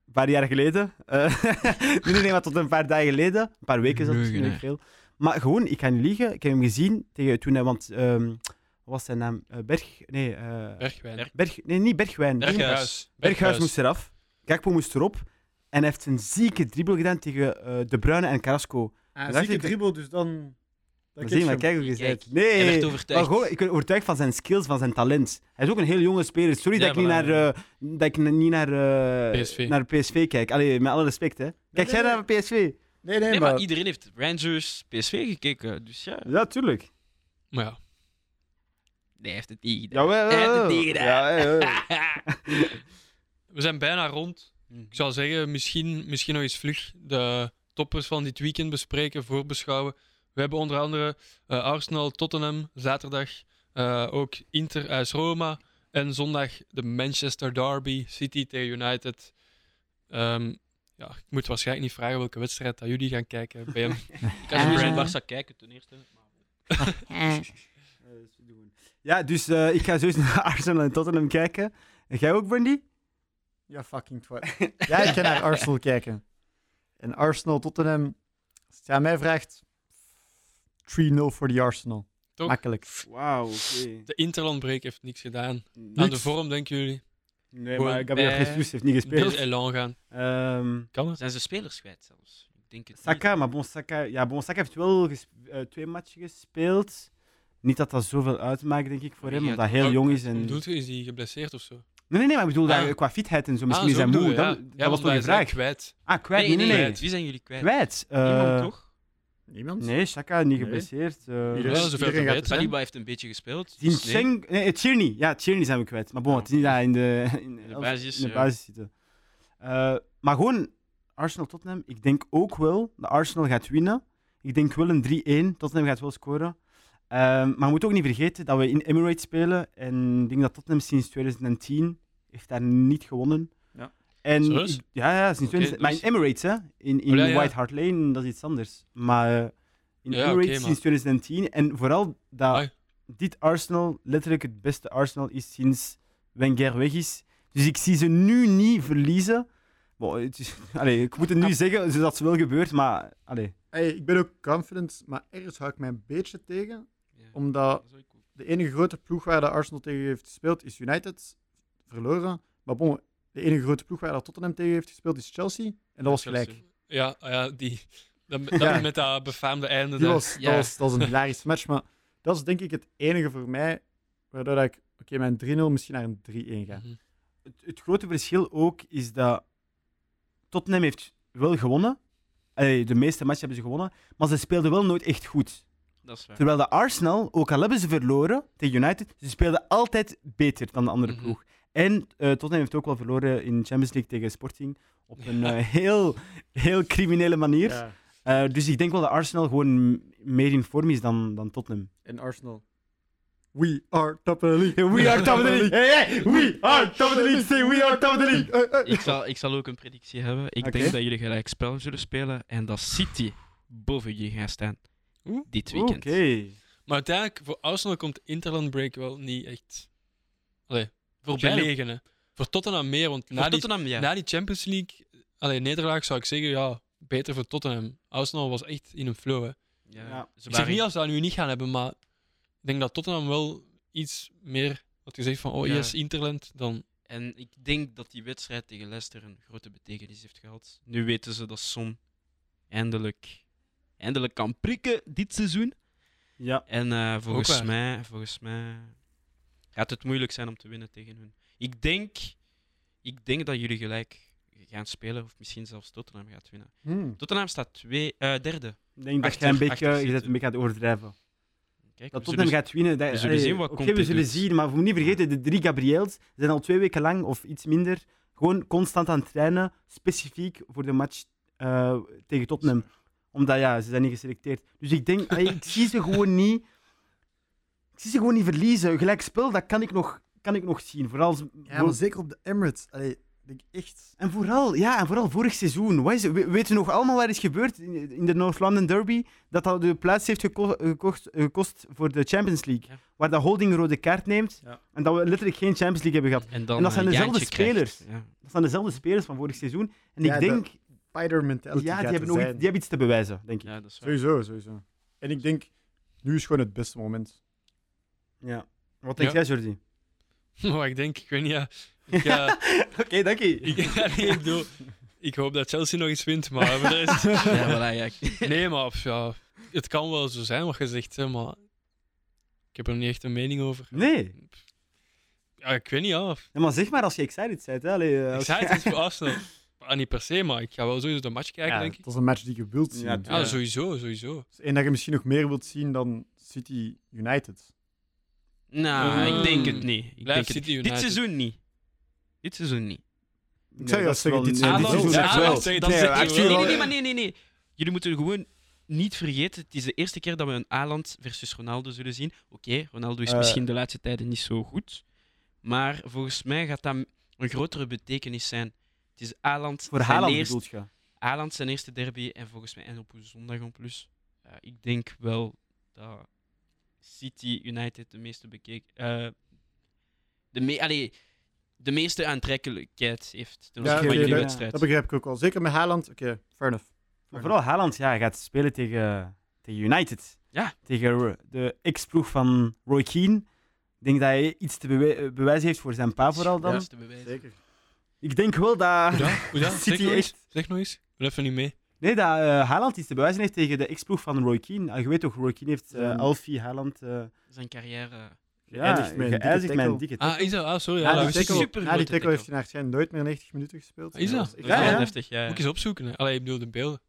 S2: een paar jaar geleden. Eh, nee, nee, nee, maar tot een paar dagen geleden. Een paar weken zat misschien
S4: Leugenaar.
S2: niet veel. Maar gewoon, ik ga niet liegen. Ik heb hem gezien tegen toen hij, want ehm, wat was zijn naam? Eh, Berg? Nee, eh,
S1: Bergwijn.
S4: Berg-
S2: Berg, nee, niet Bergwijn.
S1: Berghuis.
S2: Berghuis moest eraf. Gakpo moest erop. En hij heeft een zieke dribbel gedaan tegen eh, De Bruyne en Carrasco.
S3: Ah,
S2: Dacht
S3: zieke
S2: ik-
S3: dribbel, dus dan... dan
S2: Maar
S3: catch
S2: zie maar,
S3: hem.
S2: kijk hoe je
S4: Kijk,
S2: zegt. Nee,
S4: Hij werd overtuigd.
S2: maar gewoon, ik ben overtuigd van zijn skills, van zijn talent. Hij is ook een heel jonge speler. Sorry
S4: Ja,
S2: dat, ik niet
S4: maar-
S2: naar, eh, dat ik niet naar, eh,
S1: PSV.
S2: naar PSV kijk. Allee, met alle respect, hè. Kijk
S3: nee,
S2: jij
S3: nee.
S2: naar PSV?
S3: Nee, nee,
S4: Nee, maar
S3: maar...
S4: iedereen heeft Rangers PSV gekeken, dus ja.
S2: Ja, tuurlijk.
S1: Maar ja,
S4: Nee, hij heeft het niet gedaan.
S2: Jawel.
S4: Hij heeft het niet gedaan.
S2: Ja, ja, ja.
S1: we zijn bijna rond. Ik zou zeggen, misschien, misschien nog eens vlug de toppers van dit weekend bespreken, voorbeschouwen. We hebben onder andere eh, Arsenal, Tottenham, zaterdag. eh, ook Inter uit Roma. En zondag de Manchester Derby, City tegen United. Ehm, ja, ik moet waarschijnlijk niet vragen welke wedstrijd dat jullie gaan kijken. BM.
S4: Ik kan sowieso
S2: Ah.
S4: Barca kijken ten eerste. maar-
S2: Ja, dus eh, ik ga sowieso naar Arsenal en Tottenham kijken. En jij ook, Brandy?
S3: Ja, fucking twat. ja, ik ga naar Arsenal kijken. En Arsenal, Tottenham. Als het aan mij vraagt, 3-0 voor die Arsenal.
S1: Toch?
S3: Makkelijk.
S2: Wauw, oké.
S1: De Interlandbreak heeft niks gedaan. Aan
S2: Niks.
S1: de vorm, denken jullie?
S2: Nee,
S1: Gewoon
S2: maar Gabriel
S4: bij-
S2: Jesus heeft niet
S1: Heel
S2: gespeeld.
S1: elan gaan.
S2: Ehm,
S1: Kan het?
S4: Zijn ze spelers kwijt zelfs? Ik denk het niet.
S2: Saka, maar bon, Saka, ja, bon, Saka heeft wel ges- eh, twee matchen gespeeld. Niet dat dat zoveel uitmaakt, denk ik, voor
S4: Maar
S2: hem,
S4: die
S2: omdat hij
S4: had
S2: heel
S4: ook
S2: jong
S4: uit-
S2: is. En...
S1: Bedoelt je, is hij geblesseerd of zo?
S2: Nee, nee, nee, maar ik
S1: Ah.
S2: bedoel, daar- qua fitheid en zo, misschien
S1: Ah,
S2: is
S1: zo
S2: hij
S1: bedoel je,
S2: moe. Dat,
S1: ja.
S2: dat
S1: Ja,
S2: was
S1: want
S2: toch
S1: wij
S2: je
S1: zijn
S2: vraag?
S1: kwijt.
S2: Ah, kwijt,
S4: Nee, nee, nee.
S1: nee.
S4: Wie zijn jullie kwijt?
S2: Kwijt. eh,
S4: Niemand toch?
S3: Niemand?
S2: nee, Saka, niet
S3: Nee.
S2: geblesseerd. eh,
S1: Iedereen-
S3: Iedereen,
S1: zoveel te
S3: iedereen gaat
S1: weten.
S3: er zijn.
S4: Saliba heeft een beetje gespeeld.
S2: Die
S4: dus nee.
S2: Cheng- nee, Tierney. Ja, Tierney zijn we kwijt. Maar bon, het is niet dat hij in de, in,
S4: de basis,
S2: in de
S4: ja.
S2: basis zit. Eh, maar gewoon, Arsenal-Tottenham. Ik denk ook wel dat Arsenal gaat winnen. Ik denk wel een 3-1. Tottenham gaat wel scoren. Ehm, maar we moeten ook niet vergeten dat we in Emirates spelen. En ik denk dat Tottenham sinds 2010 heeft daar niet gewonnen.
S3: Ja.
S2: En
S1: Serieus?
S2: ik- ja, ja, sinds
S1: Oké,
S2: 2010 maar in
S1: dus-
S2: Emirates, hè. In, in
S1: Oh, ja, ja.
S2: White Hart Lane, dat is iets anders. Maar eh, in
S1: Ja,
S2: Emirates
S1: oké, maar-
S2: sinds 2010. En vooral dat
S1: Ai.
S2: dit Arsenal letterlijk het beste Arsenal is sinds Wenger weg is. Dus ik zie ze nu niet verliezen. Bon, het is, allee, ik moet het nu zeggen, zodat het wel gebeurt, maar... Allee.
S3: Hey, ik ben ook confident, maar ergens hou ik mij een beetje tegen.
S4: Ja.
S3: Omdat
S4: Dat is ook goed.
S3: de enige grote ploeg waar de Arsenal tegen heeft gespeeld is United. Verloren. Maar bon, de enige grote ploeg waar dat Tottenham tegen heeft gespeeld is Chelsea. En dat was
S4: Chelsea.
S3: gelijk.
S1: Ja, ah ja die, dat, dat
S3: Ja.
S1: met dat befaamde einde.
S3: Die
S1: daar.
S3: was,
S4: Ja.
S3: dat, was, dat was een hilarische match. Maar dat is denk ik het enige voor mij waardoor dat ik oké mijn 3-0 misschien naar een 3-1 ga.
S1: Mhm.
S2: Het, het grote verschil ook is dat Tottenham heeft wel gewonnen. Allee, de meeste matchen hebben ze gewonnen, maar ze speelden wel nooit echt goed.
S4: Dat is waar.
S2: Terwijl de Arsenal, ook al hebben ze verloren tegen United, ze speelden altijd beter dan de andere
S1: Mhm.
S2: ploeg. En eh, Tottenham heeft ook wel verloren in Champions League tegen Sporting. Op een eh, heel, heel criminele manier.
S3: Ja.
S2: Eh, dus ik denk wel dat Arsenal gewoon m- meer in vorm is dan, dan Tottenham.
S3: En Arsenal. We are top of the league.
S2: We are top of the league! Hey, hey, we are top of the league! Say we are top of the league!
S4: Ik zal, ik zal ook een predictie hebben. Ik
S2: Oké.
S4: denk dat jullie gelijk spel zullen spelen en dat City boven jullie gaan staan.
S1: Oeh.
S4: Dit
S2: Oké.
S4: weekend.
S1: Maar uiteindelijk, voor Arsenal komt de Interland Break wel niet echt allee, voorbij
S4: Champions-
S1: liggen. Hè. Voor Tottenham meer, want na,
S4: Voor
S1: die,
S4: Tottenham, ja.
S1: na die Champions League allee, nederlaag zou ik zeggen, ja, beter voor Tottenham. Arsenal was echt in een flow. Hè.
S4: Ja.
S2: Ja.
S4: Ze
S1: Ik zeg
S4: waren-
S1: niet als ze dat nu niet gaan hebben, maar ik denk dat Tottenham wel iets meer had gezegd van, oh
S4: Ja.
S1: yes, Interland, dan...
S4: En ik denk dat die wedstrijd tegen Leicester een grote betekenis heeft gehad. Nu weten ze dat Son eindelijk, eindelijk kan prikken dit seizoen.
S2: Ja.
S4: En eh, volgens,
S1: waar.
S4: mij, volgens mij gaat het moeilijk zijn om te winnen tegen hun. Ik denk, ik denk dat jullie gelijk gaan spelen, of misschien zelfs Tottenham gaat winnen.
S3: Hmm.
S4: Tottenham staat twee, eh, derde.
S2: Ik denk dat
S4: Achter-
S2: jij een beetje,
S4: achter
S2: je bent een
S4: zitten.
S2: beetje aan het overdrijven.
S4: Kijk,
S2: Dat
S4: we
S2: Tottenham
S4: zullen-
S2: gaat winnen. Dat,
S4: we zullen
S2: allee,
S4: zien wat
S2: Oké,
S4: Conte
S2: we zullen
S4: doet.
S2: zien, maar we moeten niet vergeten, de drie Gabriels zijn al twee weken lang of iets minder gewoon constant aan het trainen, specifiek voor de match eh, tegen Tottenham. Omdat ja, ze zijn niet geselecteerd. Dus ik denk, allee, ik zie ze gewoon niet. Ik zie ze gewoon niet verliezen. Gelijk spel, dat kan ik nog, kan ik nog zien. Vooral, als-
S3: Ja, maar zeker op de Emirates. Allee, ik denk echt.
S2: en vooral, ja, en vooral vorig seizoen. Wat is, we- weten we nog allemaal wat er is gebeurd in, in de North London Derby? Dat dat de plaats heeft geko- gekocht, gekost voor de Champions League.
S4: Ja.
S2: Waar dat Holding een rode kaart neemt.
S3: Ja.
S2: En dat we letterlijk geen Champions League hebben gehad.
S4: En, dan
S2: En dat zijn
S4: een
S2: dezelfde
S4: jaantje krijgt.
S2: spelers.
S4: Ja.
S2: Dat zijn dezelfde spelers van vorig seizoen. En
S3: Ja,
S2: ik
S3: de-
S2: denk,
S3: Spider mentality.
S2: ja,
S3: gaat
S2: die
S3: er
S2: hebben, nog, iets-
S3: zijn.
S2: die hebben iets te bewijzen, denk ik.
S4: ja, dat is waar.
S3: Sowieso, sowieso. En ik denk, nu is gewoon het beste moment.
S2: Ja. Wat denk
S1: Ja.
S2: jij, Jordi?
S1: Oh, ik denk, ik weet niet, ja. Ik, eh,
S2: Oké, dank je.
S1: ik, nee, ik bedoel, ik hoop dat Chelsea nog iets wint, maar voor de rest...
S4: Ja, voilà, ja. ik-
S1: Nee, maar pff, ja, het kan wel zo zijn wat je zegt, hè, maar ik heb er niet echt een mening over.
S2: Nee.
S1: Ja, ik weet niet af.
S2: Ja, maar zeg maar als je excited bent. Hè. Allee, eh,
S1: Ik
S2: als-
S1: zei het is voor Arsenal. Ah, niet per se, maar ik ga wel sowieso de match kijken,
S3: Ja,
S1: denk ik.
S3: dat is een match die je wilt zien.
S2: Ja,
S3: Ja,
S1: Ja,
S2: ja.
S1: sowieso, sowieso.
S3: en dat je misschien nog meer wilt zien dan City United.
S4: Nou,
S3: Mm.
S1: Hmm.
S4: ik denk het niet. Ik
S1: Blijf
S4: denk het
S1: City
S4: niet.
S1: United.
S4: Dit seizoen niet. Dit seizoen niet. Ah,
S2: Nee,
S3: zou je
S2: dat is
S3: zeggen,
S2: wel-
S3: dit
S2: nee,
S3: zijn
S2: dit
S3: die-
S2: is
S3: Ja,
S2: echt
S3: wel.
S1: dat zeg- dat
S3: Nee,
S1: zeg ik
S3: actually
S4: Nee,
S1: wel.
S4: nee, nee, maar nee, nee, nee. Jullie moeten gewoon niet vergeten, het is de eerste keer dat we een Haaland versus Ronaldo zullen zien. Oké, Ronaldo is
S3: Eh.
S4: misschien de laatste tijden niet zo goed. Maar volgens mij gaat dat een grotere betekenis zijn. Het is Haaland,
S2: Voor
S4: zijn,
S2: Haaland
S4: eerste,
S2: bedoelt je?
S4: Haaland zijn eerste derby en volgens mij en op een zondag en plus. Eh, ik denk wel dat City United de meeste bekeken... eh, de me allee, de meeste aantrekkelijkheid heeft ten
S3: Ja,
S4: opzichte
S3: oké,
S4: van jullie
S3: dat-
S4: wedstrijd.
S3: Dat begrijp ik ook al. Zeker met Haaland. Oké, fair enough.
S2: Maar vooral Haaland, ja, hij gaat spelen tegen, tegen United.
S4: Ja.
S2: Tegen Ro- de ex-ploeg van Roy Keane. Ik denk dat hij iets te bewe- eh, bewijzen heeft voor zijn pa vooral dan.
S4: Dat is te bewijzen.
S3: Zeker.
S2: Ik denk wel dat...
S1: Hoe dan? Hoe dan?
S2: Zit
S1: Zeg
S2: hij
S1: nog eens.
S2: Ah, echt?
S1: Zeg nog eens. Doe even niet mee.
S2: Nee, dat eh, Haaland iets te bewijzen heeft tegen de ex-ploeg van Roy Keane. Ah, je weet toch, Roy Keane heeft eh,
S3: Ja.
S2: Alfie Haaland... eh
S4: Zijn carrière.
S1: Oh,
S2: ja,
S3: Geëindigd met een dikke
S2: geëindigd met een
S3: tackle.
S2: dikke tackle.
S1: Ah, is dat? Ah, sorry.
S3: Ja,
S1: Ja, dat
S3: die
S1: wist ik
S4: is
S3: tackle,
S1: niet.
S4: super
S3: ja,
S4: grote
S3: die tackle heeft
S4: tackle.
S3: hij naar schijn nooit meer 90 minuten gespeeld.
S1: Is dat?
S3: was echt-
S4: Dat eh, is
S2: Ja,
S4: wel
S2: ja.
S4: heftig, ja.
S1: Moet ik eens opzoeken. hè. Allee, ik bedoel de beelden.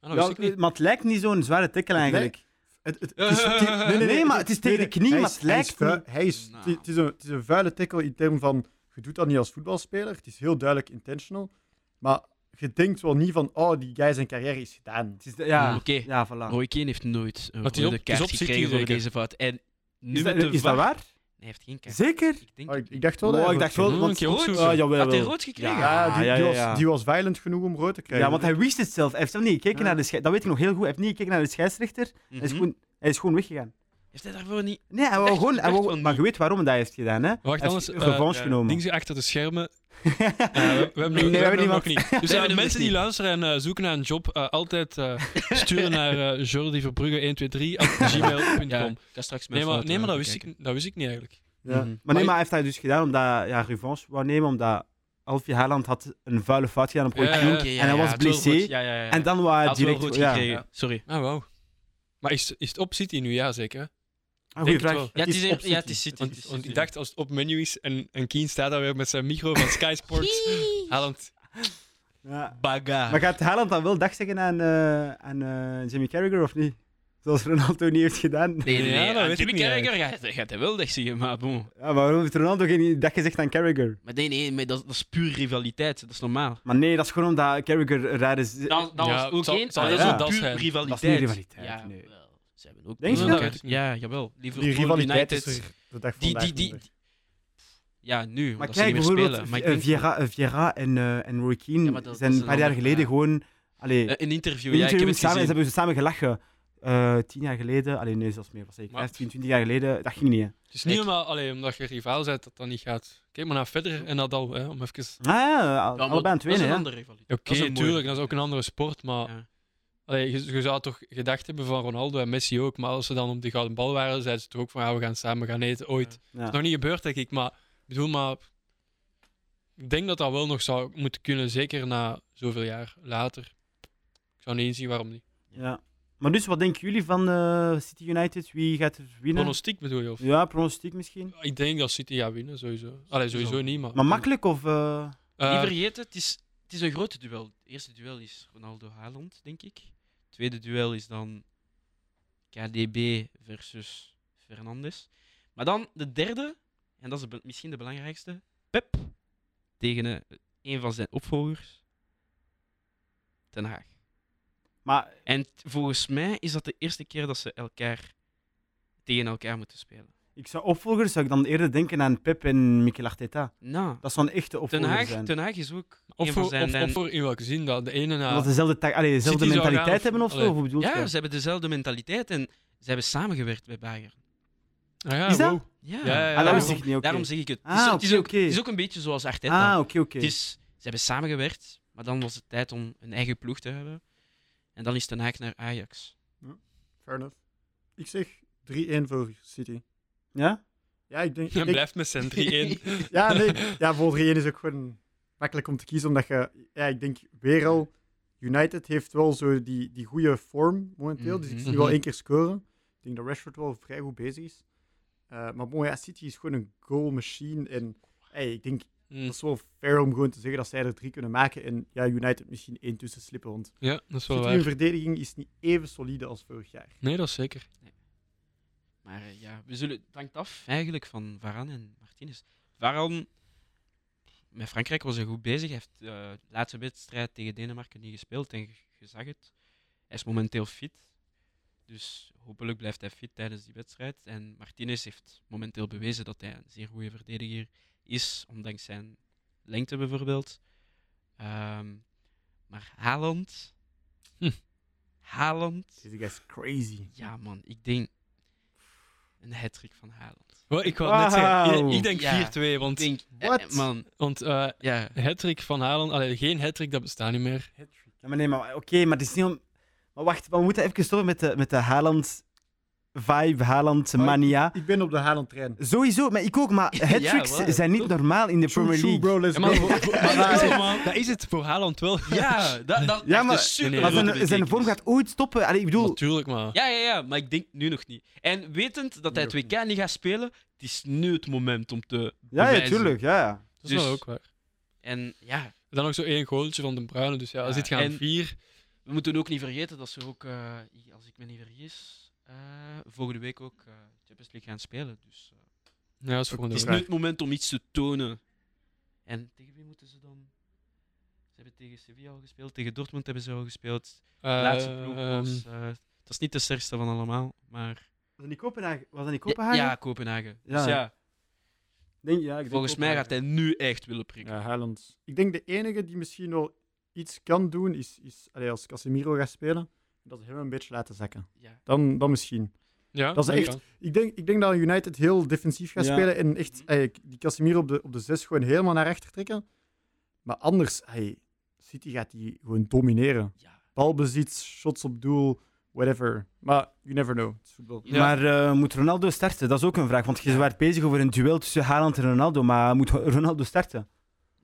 S1: Ah, dat
S2: Ja, eh,
S1: wist ik niet.
S2: maar het lijkt niet zo'n zware tackle eigenlijk.
S3: Het, het, het is- het is-
S2: Nee, maar het is tegen de knie,
S3: hij
S2: maar
S3: is-
S2: het
S3: hij is
S2: lijkt
S3: vuil-
S2: niet.
S3: hij is,
S4: Nou.
S3: het is- het, is een, het is een vuile tackle in termen van, je doet dat niet als voetbalspeler. Het is heel duidelijk intentional. Maar je denkt wel niet van, oh, die guy zijn carrière is gedaan.
S2: Het is de- ja,
S4: Oké.
S2: ja, voilà.
S4: Roy Keane heeft nooit een
S1: Maar het is
S4: rode
S1: op- het is
S4: kaart
S1: op City
S4: gekregen voor
S1: zeker?
S4: deze fout. En nu
S2: Is dat,
S4: met de
S2: is dat
S4: VAR-
S2: waar?
S4: Nee, hij heeft geen kaart.
S2: Zeker?
S4: Ik denk
S3: Oh,
S4: het
S3: ik, ik
S4: niet.
S3: dacht wel...
S2: Oh,
S3: dat hij
S2: ik dacht wel...
S1: Moet ik
S2: Want,
S1: je Mm, opzoeken?
S2: Ah, jawel,
S4: Had hij
S2: wel.
S4: rood gekregen?
S2: Ja, Ah,
S3: Ja, die,
S2: ja,
S3: die
S2: ja,
S3: was,
S2: ja.
S3: die was violent genoeg om rood te krijgen.
S2: Ja, want hij wist het zelf. Hij heeft zelf niet gekeken
S3: Ja.
S2: naar de scheidsrechter. Dat weet ik nog heel goed. Hij heeft niet gekeken naar de scheidsrechter. Hij, is
S4: Mhm.
S2: gewoon, hij is gewoon weggegaan.
S4: Heeft hij daarvoor niet...
S2: Nee, hij wou
S4: Echt?
S2: gewoon... Hij
S4: Echt
S2: wou-
S4: wel niet.
S2: maar je weet waarom hij dat heeft gedaan, hè?
S1: Wacht,
S2: hij
S1: anders...
S2: heeft
S1: eh,
S2: revanche
S4: ja,
S2: genomen.
S1: Dingen achter de schermen. Eh, we, we hebben nog, we
S2: Nee, we hebben
S1: hebben nog
S2: niemand.
S1: niet. Dus
S4: We
S1: eh,
S4: hebben nog
S1: mensen die
S4: niet.
S1: luisteren en eh, zoeken naar een job, eh, altijd eh, sturen naar eh, Jordi Verbrugge 123gmailcom
S4: Ja, ik ga straks mijn
S1: nee,
S4: eh,
S1: maar,
S4: foto
S1: nee, maar dat,
S4: even
S1: wist ik,
S4: kijken.
S1: niet- dat wist ik niet eigenlijk.
S3: Ja.
S4: Mhm.
S2: Maar
S1: Maar ik-
S2: nee, maar hij heeft dat dus gedaan omdat ja, revanche wou nemen, omdat Alfie Haaland had een vuile fout gedaan op Roy
S1: Ja,
S2: Keane.
S1: ja.
S4: Ah, oké, ja,
S2: en hij
S4: ja,
S2: was
S4: het wel
S2: blessé.
S4: goed. Ja, ja, ja.
S2: En dan was
S4: Hij
S2: hij
S4: had wel
S2: direct...
S4: rood
S2: ja.
S4: gekregen. Sorry.
S1: Ah, wauw. Maar is, is het op City nu? Ja, zeker. hè?
S2: Ah, goeie
S1: Denk het
S2: vraag.
S1: wel.
S4: Ja, het is,
S3: op
S4: ja, het
S3: City.
S4: is City.
S1: Want,
S4: het is
S1: want ik
S4: City.
S1: dacht als het op menu is en, en Keen staat daar weer met zijn micro van Sky Sports. Haaland,
S2: Ja.
S1: baga.
S2: Maar gaat Haaland dan wel dag zeggen aan, eh, aan eh, Jimmy Carragher of niet? Zoals Ronaldo niet heeft gedaan.
S4: Nee, nee,
S1: Ja,
S4: nee.
S1: dat
S4: aan
S1: weet ik
S4: Jimmy
S1: niet
S4: Carragher gaat- gaat hij wel, dacht je, maar bon.
S2: Ja, maar waarom heeft Ronaldo geen dag gezegd aan Carragher?
S4: Maar nee, nee, maar dat, dat is puur rivaliteit. Dat is normaal.
S2: Maar nee, dat is gewoon omdat Carragher raar is.
S4: Dat, dat
S1: Ja,
S4: was
S1: het
S4: ook
S1: zal-
S4: geen...
S1: het zal
S4: dat
S2: wel
S4: is
S1: dat
S4: ook puur
S1: zijn.
S4: rivaliteit.
S2: Dat is niet rivaliteit,
S4: Ja,
S2: nee.
S4: wel, Ze hebben ook...
S2: Denk je
S4: wel-
S1: dat?
S4: Ja, jawel.
S3: Die
S4: Liverpool
S3: rivaliteit
S4: United...
S3: is er de dag
S4: Die,
S3: vandaag
S4: die,
S3: niet
S4: die,
S3: meer.
S4: Ja, nu.
S2: Maar
S4: omdat ze
S2: kijk
S4: niet meer
S2: bijvoorbeeld
S4: spelen. Maar ik
S2: eh,
S4: denk-
S2: Vieira, eh, Vieira en, eh, en Roy Keane
S4: Ja, maar dat-
S2: zijn
S4: dat is
S2: een
S4: een
S2: paar jaar
S4: ander-
S2: geleden
S4: ja.
S2: gewoon... Allee,
S4: Eh, Een interview,
S2: een
S4: ja,
S2: interview
S4: ik heb het
S2: samen, ze
S4: gezien.
S2: hebben ze samen gelachen. Eh, tien jaar geleden, allee, nee, zelfs meer, was ik
S1: Maar-
S2: 15, 20 jaar geleden, dat ging niet. Hè. Ah,
S1: Het is niet
S4: Ik-
S1: helemaal alleen omdat je rivaal bent dat dat niet gaat. Kijk maar naar verder en Nadal, hè, om even...
S2: Ah, ja, al-
S4: Ja, maar
S2: allebei aan het
S4: Dat is
S2: winnen.
S4: een
S2: hè.
S4: andere rivaliteit.
S1: Oké,
S4: Dat is een mooie.
S1: tuurlijk, dat is ook een andere sport, maar...
S4: Ja.
S1: Allee, je, je zou toch gedacht hebben van Ronaldo en Messi ook, maar als ze dan op de gouden bal waren, zeiden ze toch ook van ja, we gaan samen gaan eten ooit.
S4: Ja.
S2: Ja.
S1: is nog niet gebeurd, denk ik, maar ik bedoel, maar ik denk dat dat wel nog zou moeten kunnen, zeker na zoveel jaar later. Ik zou niet inzien waarom niet.
S2: Ja. Maar dus, wat denken jullie van eh, City United? Wie gaat er winnen?
S1: Pronostiek bedoel je? Of?
S2: Ja, pronostiek misschien.
S1: Ik denk dat City gaat winnen, sowieso. Allee, sowieso
S4: Zo.
S1: niet, maar...
S2: Maar makkelijk of... eh,
S1: Eh,
S4: Niet vergeten, het is, het is een grote duel. Het eerste duel is Ronaldo-Haaland, denk ik. Het tweede duel is dan KDB versus Fernandes. Maar dan de derde, en dat is de be- misschien de belangrijkste, Pep tegen eh, een van zijn opvolgers, Den Haag.
S2: Maar
S4: En t- volgens mij is dat de eerste keer dat ze elkaar tegen elkaar moeten spelen.
S2: ik zou opvolgers zou ik dan eerder denken aan Pep en Mikel Arteta.
S4: Nou,
S2: Dat zou een echte
S4: Den
S2: opvolger
S4: Haag,
S2: zijn.
S4: Den Haag is ook
S1: of,
S4: een van
S1: voor,
S4: zijn...
S1: of,
S4: en-
S1: of voor in welke zin dat? De ene na...
S2: Omdat dezelfde, ta- allee, dezelfde
S1: zou
S2: mentaliteit
S1: gaan of-
S2: hebben of zo?
S1: allee.
S2: Hoe bedoel
S4: ja,
S2: je?
S4: ze hebben dezelfde mentaliteit en ze hebben samengewerkt bij Bayern.
S1: Ah ja,
S2: Is dat?
S1: wow.
S4: Ja,
S1: Ja, ja, ja.
S2: Ah, dat
S4: daarom,
S2: wist ik niet. oké.
S4: daarom zeg ik het.
S2: Ah,
S4: het, is, het, is
S2: oké,
S4: ook,
S2: oké.
S4: het is ook een beetje zoals Arteta.
S2: Ah, oké, oké.
S4: het is, ze hebben samengewerkt, maar dan was het tijd om een eigen ploeg te hebben. En dan is Den Haag naar Ajax.
S3: Fair enough. Ik zeg 3-1 voor City.
S2: Ja?
S3: Ja, ik denk...
S1: En
S3: ik-
S1: blijft met zijn 3-1.
S3: Ja, nee. Ja, voor 3-1 is ook gewoon makkelijk om te kiezen, omdat je... Ja, ik denk weer al... United heeft wel zo die, die goede vorm momenteel, dus ik
S1: Mhm.
S3: zie wel één keer scoren. Ik denk dat Rashford wel vrij goed bezig is. Eh, maar mooi, ja, City is gewoon een goal machine en... Hey, ik denk,
S1: Hm,
S3: dat is wel fair om gewoon te zeggen dat zij er drie kunnen maken en ja, United misschien één tussen slippen, want
S1: Ja, dat is wel
S3: City hun
S1: waar.
S3: verdediging is niet even solide als vorig jaar.
S1: Nee, dat is zeker.
S4: Maar eh, ja, we zullen, het hangt af eigenlijk van Varane en Martinez. Varane, met Frankrijk was hij goed bezig. Hij heeft eh, de laatste wedstrijd tegen Denemarken niet gespeeld en je je zag het. Hij is momenteel fit. Dus hopelijk blijft hij fit tijdens die wedstrijd. En Martinez heeft momenteel bewezen dat hij een zeer goede verdediger is, ondanks zijn lengte bijvoorbeeld. Ehm, maar Haaland...
S1: Hm.
S4: Haaland...
S3: Deze guy is crazy.
S4: Ja, man, ik denk. een hat-trick van Haaland.
S1: Wel, ik wou net zeggen,
S2: Wauw.
S1: ik, ik denk
S4: Ja.
S1: 4-2, want,
S4: Ik denk, eh,
S2: What?
S4: man,
S1: want eh
S4: ja.
S1: hattrick van Haaland, allee, geen hattrick, dat bestaat niet meer.
S2: Ja, maar nee, maar oké, maar het is niet om... Maar wacht, we moeten even stoppen met de, met de Haaland-vibe, Haaland-mania.
S3: Ik ben op de Haaland-trein.
S2: Sowieso, maar ik ook, maar hat-tricks
S4: wel,
S2: zijn niet normaal in de Premier League.
S3: bro, let's
S1: Ja, maar,
S3: go.
S1: voor- voor-
S4: Maar-
S1: dat, is het, dat is het voor Haaland wel.
S4: Ja, dat, dat dus-
S2: Ja,
S4: heeft
S2: maar-
S4: dus super
S1: Nee, nee,
S2: maar
S1: dat
S4: grote
S2: zijn, zijn vorm
S4: betekenis.
S2: gaat ooit stoppen. Allee, ik bedoel,
S1: Natuurlijk, maar.
S4: Ja, ja, ja, maar ik denk nu nog niet. En wetend dat hij het WK niet gaat spelen, het is nu het moment om te
S2: ja, ja,
S4: bewijzen.
S2: tuurlijk, ja. ja.
S1: Dat is wel
S4: dus-
S1: ook waar.
S4: En ja,
S1: Dan nog zo één goaltje van de Bruyne, dus ja,
S4: Ja,
S1: dan zit je aan
S4: en-
S1: 4.
S4: we moeten ook niet vergeten dat ze ook, eh, als ik me niet vergis, eh, volgende week ook eh Champions League gaan spelen. Dus eh,
S1: Ja, dat is
S4: het
S1: volgende
S4: is
S1: week.
S4: nu het moment om iets te tonen. En tegen wie moeten ze dan? Ze hebben tegen Sevilla al gespeeld, tegen Dortmund hebben ze al gespeeld. De
S1: Eh,
S4: laatste ploeg
S1: ehm,
S4: was... eh, dat is niet de sterkste van allemaal, maar...
S2: Was dat niet Kopenhagen? Was dat niet
S4: Ja,
S2: Kopenhagen?
S4: ja, Kopenhagen.
S2: Ja.
S4: Dus ja,
S2: Denk, ja ik denk
S4: volgens mij gaat hij
S2: Kopenhagen.
S4: nu echt willen prikken.
S3: Ja, Eh, Haaland. Ik denk de enige die misschien wel iets kan doen, is, is allee, als Casemiro gaat spelen, dat ze hem een beetje laten zakken.
S4: Ja.
S3: Dan, dan misschien.
S1: ja,
S3: dat is echt-
S1: kan.
S3: Ik denk, ik denk dat United heel defensief gaat
S2: Ja.
S3: spelen en echt allee, die Casemiro op de, op de zes gewoon helemaal naar achter trekken. Maar anders, allee, City gaat die gewoon domineren.
S4: Ja.
S3: Balbezit, shots op doel, whatever. Maar you never know. Het is voetbal.
S4: Ja.
S2: Maar eh, moet Ronaldo starten? Dat is ook een vraag, want je werd bezig over een duel tussen Haaland en Ronaldo, maar moet Ronaldo starten?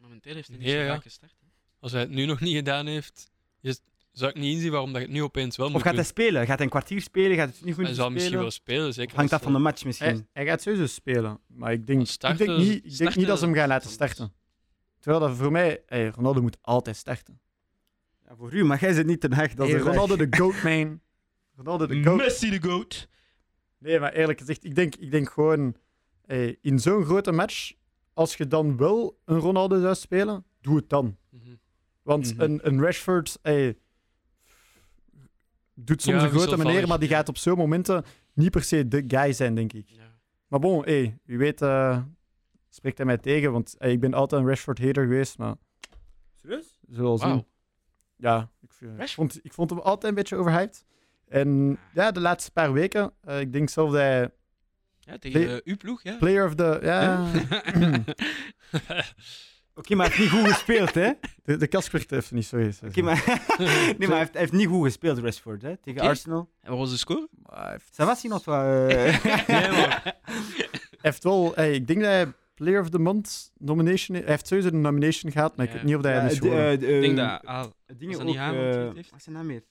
S4: Momenteel heeft hij
S1: hij
S4: niet
S1: niet Ja, zo
S4: zo
S1: ja.
S4: vaak
S1: vaak
S4: gestart.
S1: Als hij het nu nog niet gedaan heeft, is- zou ik niet inzien waarom dat je het nu opeens wel
S2: Of
S1: moet
S2: gaat
S1: doen.
S2: hij spelen? Gaat hij een kwartier spelen? Gaat hij niet
S1: Hij
S2: minuten
S1: zal
S2: spelen?
S1: misschien wel spelen,
S2: Of
S1: zeker.
S2: hangt
S1: als-
S2: dat van de match misschien?
S3: Hij, hij gaat sowieso spelen, maar ik denk,
S1: Starten-
S3: ik denk, niet, ik denk niet dat ze hem gaan laten
S4: starten is
S3: starten. Terwijl dat voor mij, hey, Ronaldo moet altijd starten.
S2: Ja, voor u, maar jij zit niet ten haag. Dat
S3: Hey,
S2: is een vraag.
S3: Ronaldo de goat, man. Ronaldo de goat.
S4: Messi de goat.
S3: Nee, maar eerlijk gezegd, ik denk, ik denk gewoon hey, in zo'n grote match, als je dan wel een Ronaldo zou spelen, doe het dan.
S1: Mhm.
S3: Want
S4: Mhm.
S3: een, een Rashford hey, doet soms
S1: Ja,
S3: een grote
S1: wisselvallig.
S3: manier, maar die gaat op zo'n momenten niet per se de guy zijn, denk ik. Maar bon, hey, wie weet eh, spreekt hij mij tegen, want hey, ik ben altijd een Rashford-hater geweest, maar
S2: Serieus?
S3: we zullen wel
S1: Wauw.
S3: zien. Ja, ik, vind- ik
S4: Rashford?
S3: vond, ik vond hem altijd een beetje overhyped. En ja, de laatste paar weken, eh, ik denk zelf dat hij
S4: Ja, tegen
S3: Nee.
S4: eh, uw ploeg, ja.
S3: player of the... Ja,
S2: Oké, maar hij heeft niet goed gespeeld, hè? Oké,
S3: de, de Kasper heeft niet, sorry. sorry.
S2: maar... nee, maar hij heeft, hij heeft niet goed gespeeld, Rashford, hè? Tegen
S4: Oké.
S2: Arsenal.
S4: En wat was de score?
S3: Maar hij heeft-
S2: Ça va, sinon, toi? eh?
S1: Nee, maar-
S3: hij heeft wel... hey, ik denk dat hij player of the month nomination... Hij heeft sowieso een nomination gehad, maar ik
S4: Ja.
S3: weet niet of dat hij
S2: Ja,
S3: is
S2: de-
S3: geworden.
S2: eh, de, eh,
S4: Ik denk dat... ah,
S2: Dingen
S4: Was dat
S2: ook...
S4: niet Haaland die het
S2: eh,
S4: heeft?
S2: Wat zijn naam meer?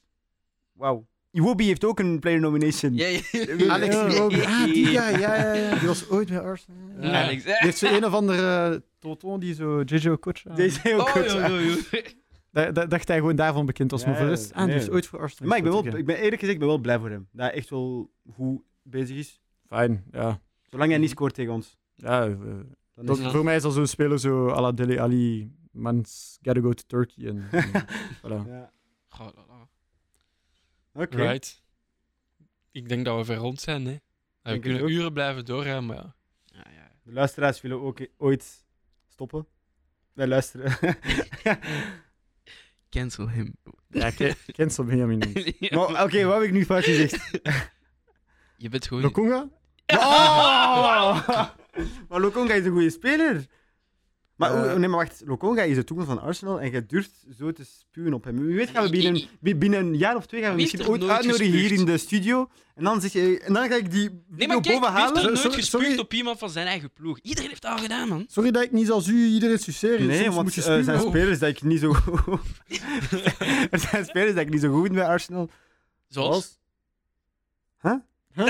S2: Wauw. Iwobi heeft ook een player nomination.
S4: ja, ja.
S3: Alex
S2: Ja.
S3: Iwobi. Ah, die guy, ja, ja, ja. Die was ooit bij Arsenal.
S1: Ja.
S3: Ja.
S4: Alex.
S3: Die heeft zo een of andere Toton die zo JJ Kocha.
S2: Deze heel
S4: Oh,
S2: goed.
S4: joh, joh, joh.
S3: Da- da- Dacht hij gewoon daarvan bekend was,
S2: Ja,
S3: maar voor de rest. Ah, die
S2: nee.
S3: heeft ooit voor Arsenal.
S2: Maar ik ben, wel,
S3: gespeeld,
S2: ik ben eerlijk gezegd ik ben wel blij voor hem. Dat hij echt wel goed bezig is.
S3: oké. Fijn, ja.
S2: Zolang hij niet scoort tegen ons.
S3: ja eh,
S2: Dan
S3: dat,
S2: is
S1: Ja.
S3: Voor mij is dat zo'n speler zo à la Dele Ali. Man's gotta go to Turkey. En, en, voilà.
S2: Ja.
S4: Goh, la, la.
S2: Oké.
S1: Right. Ik denk dat we ver rond zijn, hè. Ja, we
S2: het
S1: kunnen
S2: ook.
S1: uren blijven doorgaan, maar ja.
S4: Ja, ja.
S2: De luisteraars willen ook i- ooit stoppen. Wij luisteren.
S4: Cancel him.
S3: Ja, ke- cancel Benjamin. Mendes.
S4: Ja.
S2: Maar Oké, wat heb ik nu fout gezegd?
S4: Je bent gewoon...
S3: Lokonga?
S2: Oh! maar Lokonga is een goede speler. Maar,
S3: Eh.
S2: oh, nee, maar wacht, Lokonga is de toekomst van Arsenal en je durft zo te spuwen op hem. Wie weet gaan we binnen, bi- binnen een jaar of twee gaan we
S4: Wie heeft
S2: misschien
S4: er
S2: ooit
S4: nooit
S2: uitnodigen hier
S4: gespuugd?
S2: in de studio. En dan, zeg je, en dan ga ik die
S4: Nee,
S2: video
S4: maar kijk,
S2: boven
S4: hij heeft
S2: halen.
S4: er nooit
S3: Sorry, sorry.
S4: gespuugd op iemand van zijn eigen ploeg. Iedereen heeft dat al gedaan, man.
S3: Sorry dat ik niet als u iedereen suceer.
S2: Nee,
S3: Soms
S2: want
S3: moet je
S2: eh,
S3: spuwen.
S2: zijn
S3: Oh.
S2: spelers dat ik niet zo goed... er zijn spelers dat ik niet zo goed vind bij Arsenal.
S4: Zoals...
S3: Eh, eh,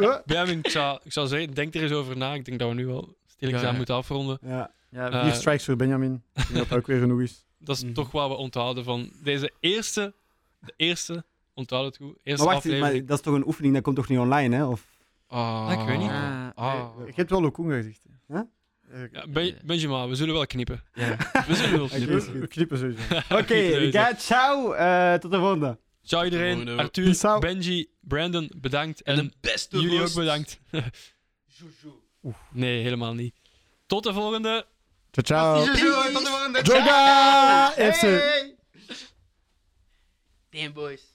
S3: eh.
S1: Benjamin, ik zou, ik zou zeggen, denk er eens over na. Ik denk dat we nu wel stilletjes
S4: Ja,
S1: aan
S4: ja.
S1: moeten afronden.
S2: Ja.
S3: Ja,
S1: Eh.
S3: vier strikes voor Benjamin. Ik denk dat dat ook weer genoeg is.
S1: Dat is
S4: Mhm.
S1: toch wat we onthouden van deze eerste, de eerste, onthoud het goed, eerste
S2: Maar wacht,
S1: aflevering.
S2: maar dat is toch een oefening, dat komt toch niet online, hè? Of...
S4: Oh.
S1: Ah, ik weet niet.
S4: Oh.
S3: Je hebt wel Lokonga gezegd.
S2: Huh?
S3: Eh,
S1: Ja, ben, Benjamin, we zullen wel knippen.
S4: Ja.
S1: We zullen wel
S2: Oké.
S1: knippen.
S2: goed.
S3: We knippen sowieso.
S2: Oké, ja, ciao. eh, tot de volgende.
S1: Ciao iedereen,
S4: Volgende.
S1: Arthur,
S3: Peace out.
S1: Benji, Brandon, bedankt.
S4: En
S1: En
S4: de beste
S1: jullie ook
S4: host.
S1: bedankt.
S4: Jojo.
S1: Nee, helemaal niet. Tot de volgende.
S3: Ciao, ciao.
S4: Jojo, tot de volgende.
S3: Joga FC.
S4: Damn, boys.